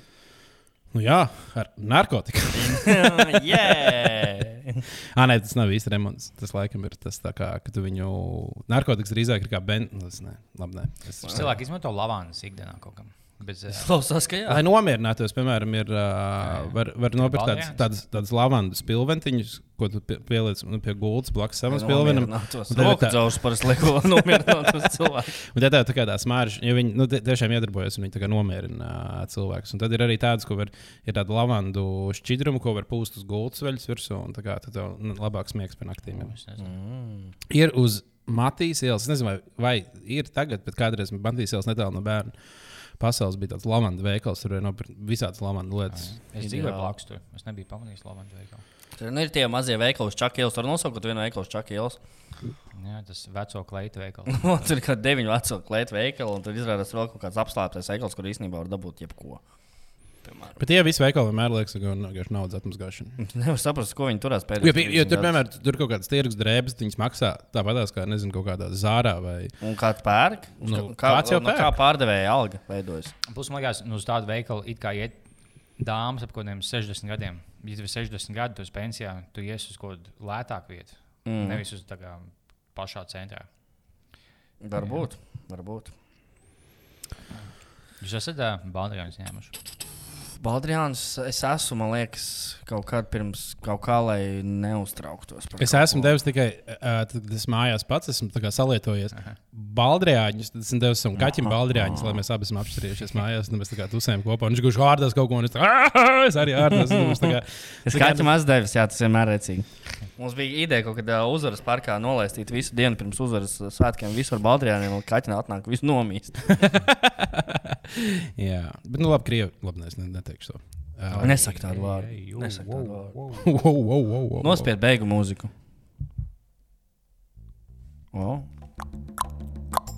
[SPEAKER 3] Nu, jā, ar narkotiku.
[SPEAKER 1] Jā!
[SPEAKER 3] Ah, nē, tas nav īsti remonts. Tas laikam ir tas, tā kā, ka tu viņu narkotikas drīzāk ir kā benzīns. Nē, labi. Nē. Tas ir
[SPEAKER 2] Cilvēki izmanto lavānas ikdienā kaut kam. Bez, eh, ā,
[SPEAKER 1] Klausās, ka jā.
[SPEAKER 3] Lai nomierinātos, piemēram, ir, uh, var, var nopirkt tādas,
[SPEAKER 2] Baldiens.
[SPEAKER 3] tādas, tādas lavandas pilventiņas, ko tu pie- pieliec nu, pie gultas blakus savam pilvenam.
[SPEAKER 1] Nomierinātos.
[SPEAKER 3] Un tev ir
[SPEAKER 1] Roku
[SPEAKER 3] tā-
[SPEAKER 1] dzaužas parasti lieko vēl nomierinātos cilvēkus.
[SPEAKER 3] Un tā tā, tā kā tā smārža, ja viņi nu, tie- tiešām iedarbojas un viņi tā kā nomierina ā, cilvēkus. Un tad ir arī tādas, ko var, ir tāda lavandu šķidruma, ko var pūst uz gultas veļas virsū, un tā kā tad tev nu, labāk smiegs par naktīm. jau. Ir uz Matīs ielas, es nezinu, vai, vai ir tagad, bet kādreiz Matīs ielas netālu no bērna. Pasaules bija tāds lavandu veikals, tur varēja nopirkt visādas lavandu lietas.
[SPEAKER 2] Es dzīvoju blakus tur. Es nebiju pamanījis lavānas veikalu.
[SPEAKER 1] Tur nu, ir tie mazie veikali uz Čakielas. Tur nosaukt vienu veikalu uz Čakielas.
[SPEAKER 2] Jā, tas veco kleitu veikals.
[SPEAKER 1] Nu, tur ir kaut kāda deviņu vecu klēta veikala, un tur izrādās vēl kaut kāds apslēptais veikals, kur īstenībā var dabūt jebko.
[SPEAKER 3] Bet tie visi veikali vienmēr liekas, ka gan vienkārši naudas atmazgāšana.
[SPEAKER 1] Nevar saprast, ko viņi turās pēdējā
[SPEAKER 3] Jo, pie- jo tur, piemēram, tur kaut kādas tirgus drēbes, viņas maksā tāpatās kā, nezinu, kaut kādā zārā vai
[SPEAKER 1] Un kāds pērk? Uz
[SPEAKER 3] Nu,
[SPEAKER 1] kā,
[SPEAKER 3] kāds jau
[SPEAKER 1] no kā pārdevēja alga veidojas?
[SPEAKER 2] Plus, man liekas, nu, uz tādu veikalu it kā iet dāmas ap kaut kādiem 60 gadiem. Ja tev ir 60 gadi, tu esi pensijā, tu ies uz kaut kādu lētāku vietu. Mm. Nevis uz tā kā pašā centrā.
[SPEAKER 1] Varbūt. Varbūt.
[SPEAKER 2] Jūs esat uh, Baltāņu ņēmuši.
[SPEAKER 1] Baldrians, es esmu, man liekas, kaut kādā pirms kaut kā, lai neuztrauktos. par
[SPEAKER 3] Es
[SPEAKER 1] kaut
[SPEAKER 3] esmu
[SPEAKER 1] ko.
[SPEAKER 3] devis tikai, ā, tad, kad es mājās pats esmu tā kā salietojies. Baldriāņus, tad esmu devis savam kaķim baldriāņus, lai mēs abi esam apstrīdējušies mājās. Tad mēs tā kā tusējam kopā, un viņš guž ārdās kaut ko, un es, tā, "Ā, es arī ārdās. un mums tā kā-
[SPEAKER 1] Es
[SPEAKER 3] tā kā-
[SPEAKER 1] skatos, maz devis, jā, tas vienmēr ir rēcīgi. Mums bija ideja, ka, kad uh, uzvaras parkā nolaistīt visu dienu pirms uzvaras uh, svētkiem, visur Baldrianiem, un kaķinā atnāk visu nomīst.
[SPEAKER 3] Jā, bet nu labi, krievi, labi, nē, es ne- neteikšu to. Ā,
[SPEAKER 1] Nesaka tādu vārdu. Nesaka tādu vārdu.
[SPEAKER 3] wow, wow, wow, wow.
[SPEAKER 1] Nospied beigu mūziku. O,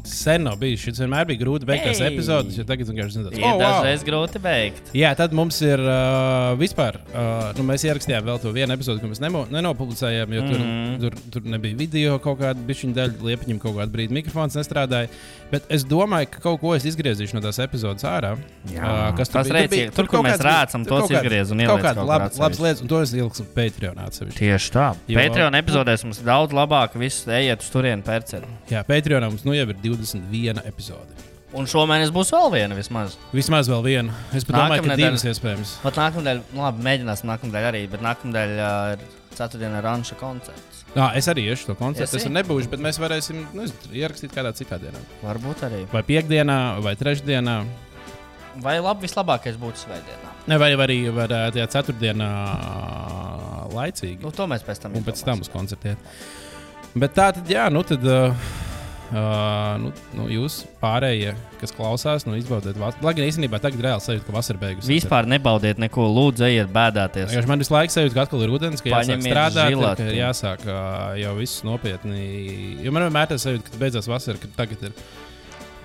[SPEAKER 3] Sen nav bijis. Šis vienmēr bija grūti beigās
[SPEAKER 1] Ei!
[SPEAKER 3] epizodes, jo tagad vienkārši zinu,
[SPEAKER 1] ir
[SPEAKER 3] "Oh,
[SPEAKER 1] dažreiz grūti beigt.
[SPEAKER 3] Jā, tad mums ir uh, vispār. Uh, nu, mēs ierakstījām vēl to vienu epizodi, ko mēs nemo, nenopublicējām, jo tur,
[SPEAKER 1] Mhm.
[SPEAKER 3] mm. tur, tur nebija video kaut kāda bišķiņa daļa, liepiņam kaut kādu brīdi mikrofons nestrādāja. Bet es domāju, ka kaut ko es izgriezīšu no tās epizodes ārā. Jā, uh, kas
[SPEAKER 1] Tas
[SPEAKER 3] bija?
[SPEAKER 1] rēcīgi. Tur, kur
[SPEAKER 3] kaut
[SPEAKER 1] mēs
[SPEAKER 3] kāds bija-
[SPEAKER 1] rācam,
[SPEAKER 3] tur
[SPEAKER 1] tos
[SPEAKER 3] kaut kāds-
[SPEAKER 1] izgriez un
[SPEAKER 3] kaut
[SPEAKER 1] ieliec
[SPEAKER 3] kādas
[SPEAKER 1] kaut kur
[SPEAKER 3] lab,
[SPEAKER 1] atsevišķi.
[SPEAKER 3] labas lietas, un to es ieliksim Patreon atsevišķi.
[SPEAKER 1] Tieši tā.
[SPEAKER 3] Jo-
[SPEAKER 1] Patreon epizodēs mums daudz labāk, viss ejiet uz turieni pērciet.
[SPEAKER 3] Jā, Patreon mums nu jau ir 21 epizode.
[SPEAKER 1] Un šomēnes būs vēl viena vismaz.
[SPEAKER 3] Vismaz vēl viena. Es pat domāju, ka
[SPEAKER 1] Nākamnedēļ.
[SPEAKER 3] divas iespējams.
[SPEAKER 1] Pat nākamdēļ, nu labi, mēģināsim nākamdēļ arī, bet nākamdēļ uh, ir ceturtdiena ranča koncerts.
[SPEAKER 3] Nā, es arī iešu to koncertu.
[SPEAKER 1] Iesi?
[SPEAKER 3] Es tur nebūšu, bet mēs varēsim nu, es- ierakstīt kādā citā dienā.
[SPEAKER 1] Varbūt arī.
[SPEAKER 3] vai piekdienā, vai trešdienā.
[SPEAKER 1] Vai labi vislabākais būtu svētdienā?
[SPEAKER 3] Ne, vai vai arī var ā, tajā ceturtdienā ā, laicīgi.
[SPEAKER 1] Nu, to mēs pēc tam
[SPEAKER 3] Un pēc tam uz koncertiem. Bet tā tad, jā, nu tad. Uh, Uh, nu, nu, jūs pārējie, kas klausās, nu, izbaudiet vasaru. Lai gan īstenībā tagad reāli sajūta, ka vasara beigas.
[SPEAKER 1] Vispār nebaudiet neko, lūdzu, ejiet bēdāties.
[SPEAKER 3] Vienkārši man visu laiku sajūta, ka atkal ir rudens, ka jāsāk
[SPEAKER 1] Paņemiet
[SPEAKER 3] strādāt, ir, ka
[SPEAKER 1] žilāti.
[SPEAKER 3] ir jāsāk ā, jau viss nopietni. Jo man vienmēr tas sajūta, ka beidzās vasara, ka tagad ir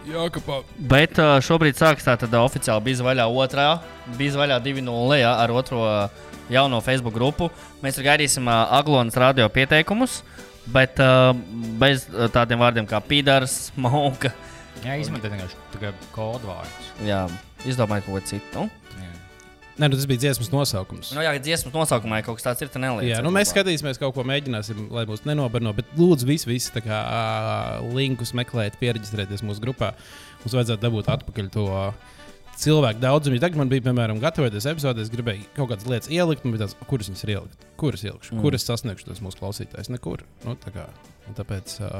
[SPEAKER 3] jākapā.
[SPEAKER 1] Bet uh, šobrīd sākas tā tad oficiāli bija vaļā otrā, bija vaļā 2.0 ja, ar otro uh, jauno Facebook grupu. Mēs tur gaidīsim uh, Aglonas radio pieteikumus, bet uh, bez uh, tādiem vārdiem kā pīdārs, mauka.
[SPEAKER 2] Jā, izmantojiet vienkārši tā kā kodvārdus.
[SPEAKER 1] Jā, izdomāju kaut ko citu.
[SPEAKER 3] Nē, nu, tas bija dziesmas nosaukums.
[SPEAKER 1] Nu, jā, dziesmas nosaukumā ja kaut kas tāds ir, tad neliec.
[SPEAKER 3] Jā, nu, mēs skatīsimies, kaut ko mēģināsim, lai mūsu nenobarno. Bet, lūdzu, visi, visi tā kā ā, linkus meklēt, pierakstieties mūsu grupā. Mums vajadzētu dabūt atpakaļ to cilvēku daudzumu. Jo Tagad man bija, piemēram, gatavoties epizodē, es gribēju kaut kādas lietas ielikt, un bija tāds, kuras viņas ir ielikt, kuras ielikšu, mm. kuras sasniegšu tos mūsu klausītājus. Nekur. Nu, tā kā, un tāpēc ā,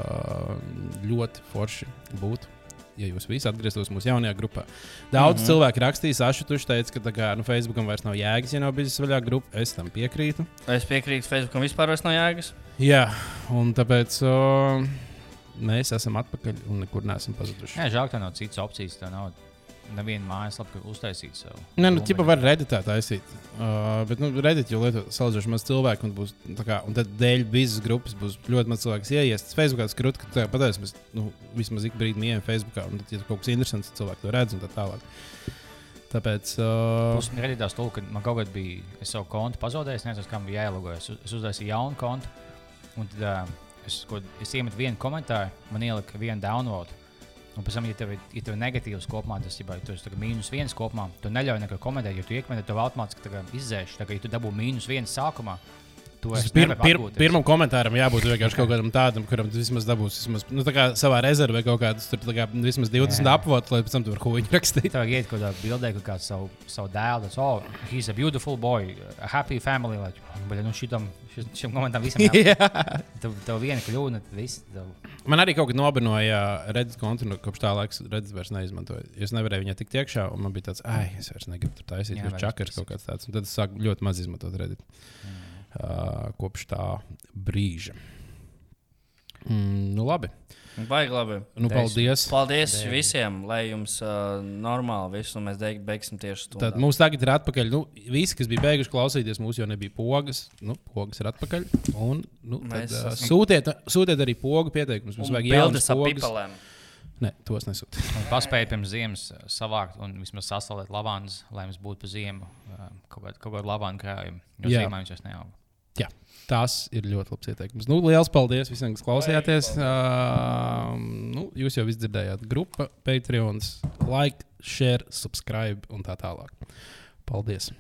[SPEAKER 3] ļoti forši būtu. Ja jūs visi atgrieztos mūsu jaunajā grupā, daudz mm -hmm. cilvēku rakstīja, Ašutuši teica, ka tā kā, nu, Facebookam vairs nav jēgas, ja nav bijusi vaļā grupa. Es tam piekrītu.
[SPEAKER 1] Es piekrītu Facebookam vispār vairs nav jēgas.
[SPEAKER 3] Jā, un tāpēc o, mēs esam atpakaļ un nekur neesam pazuduši.
[SPEAKER 2] Jā, žēl, ka tev nav citas opcijas. Tev nav nevienu mājaslapu, kur uztaisīt savu.
[SPEAKER 3] Nē, nu,
[SPEAKER 2] filmu.
[SPEAKER 3] tipā var reditā taisīt. Uh, bet, nu, redīt, jo lietot salīdzinoši maz cilvēku, un, būs, tā kā, un tad dēļ visas grupas būs ļoti maz cilvēku ieiestas. Facebookā tas krūti, ka tā pateiks, mēs nu, vismaz ik brīdi mījām Facebookā, un tad, ja tur kaut kas interesants, tad cilvēki to redz un tā tālāk. Tāpēc. Uh,
[SPEAKER 2] Plus, man radījās tā, ka man kaut kādā bija es savu kontu pazaudējis, nezinu, kam bija jāielogojas. Es uztaisīju jaunu kontu, un tad ā, es, ko- es iemetu vienu komentāru, man ielika vienu download. Un pēc tam, ja tev ir ja tev ir negatīvs kopumā, tas jau ir tā kā mīnus viens kopumā, tu neļauj neko komentēt, jo tu iekmeni, tev automātiski tā kā izdzēš. Tā kā ja tu dabū mīnus viens sākumā, tu vairs
[SPEAKER 3] Pir,
[SPEAKER 2] nevari
[SPEAKER 3] pir,
[SPEAKER 2] atgūties.
[SPEAKER 3] pirmam komentāram jābūt vienkārši kaut kādam tādam, kuram tu vismaz dabūsi vismaz, nu, tā kā savā rezervē kaut kādus tur, tā kā, vismaz 20
[SPEAKER 2] Jā.
[SPEAKER 3] apvotus, lai pēc tam tur huīņu rakstīt.
[SPEAKER 2] Tā kā iet kaut kādā bildē, kaut kāds savu, savu dēlu, tas, oh, he's a beautiful boy, a happy family. Like, bet, nu, šitam, šis- šim komentam visam jā.
[SPEAKER 3] Jā.
[SPEAKER 2] Tev, tev viena kļūda, tad viss. Tev...
[SPEAKER 3] Man arī kaut kā nobinoja uh, redzes kontu, un kopš tā laika redzes vairs neizmantoju. Es nevarēju viņai tikt iekšā, un man bija tāds, ah, es vairs negribu tur taisīt,
[SPEAKER 2] Jā,
[SPEAKER 3] jo
[SPEAKER 2] vairs
[SPEAKER 3] čakars kaut kāds tāds. Un tad es sāku ļoti maz izmantot redzes uh, kopš tā brīža. Mm, nu, labi.
[SPEAKER 1] Baigi labi.
[SPEAKER 3] Nu, paldies.
[SPEAKER 1] Paldies visiem, lai jums uh, normāli viss, un mēs deig, beigsim tieši to.
[SPEAKER 3] Tad mums tagad ir atpakaļ. Nu, visi, kas bija beiguši klausīties, mums jau nebija pogas. Nu, pogas ir atpakaļ. Un, nu,
[SPEAKER 1] Mēs
[SPEAKER 3] tad, uh,
[SPEAKER 1] esam-
[SPEAKER 3] sūtiet, sūtiet arī pogu pieteikumus. Mums vajag jaunas
[SPEAKER 1] bildes ar
[SPEAKER 3] pogas.
[SPEAKER 1] pipelēm.
[SPEAKER 3] Nē, tos nesūtiet.
[SPEAKER 2] Un Paspēja pirms ziemas eh, savākt un vismaz sasaldēt lavānas, lai mums būtu pa ziemu eh, kaut kāda kaut kāda lavāna krājuma. Jo
[SPEAKER 3] Jā.
[SPEAKER 2] ziemā viņš vairs neauga.
[SPEAKER 3] Jā, tas ir ļoti labs ieteikums. Nu, liels paldies visiem, kas klausījāties. Uh, nu, jūs jau izdzirdējāt, grupa, Patreon, like, share, subscribe un tā tālāk. Paldies!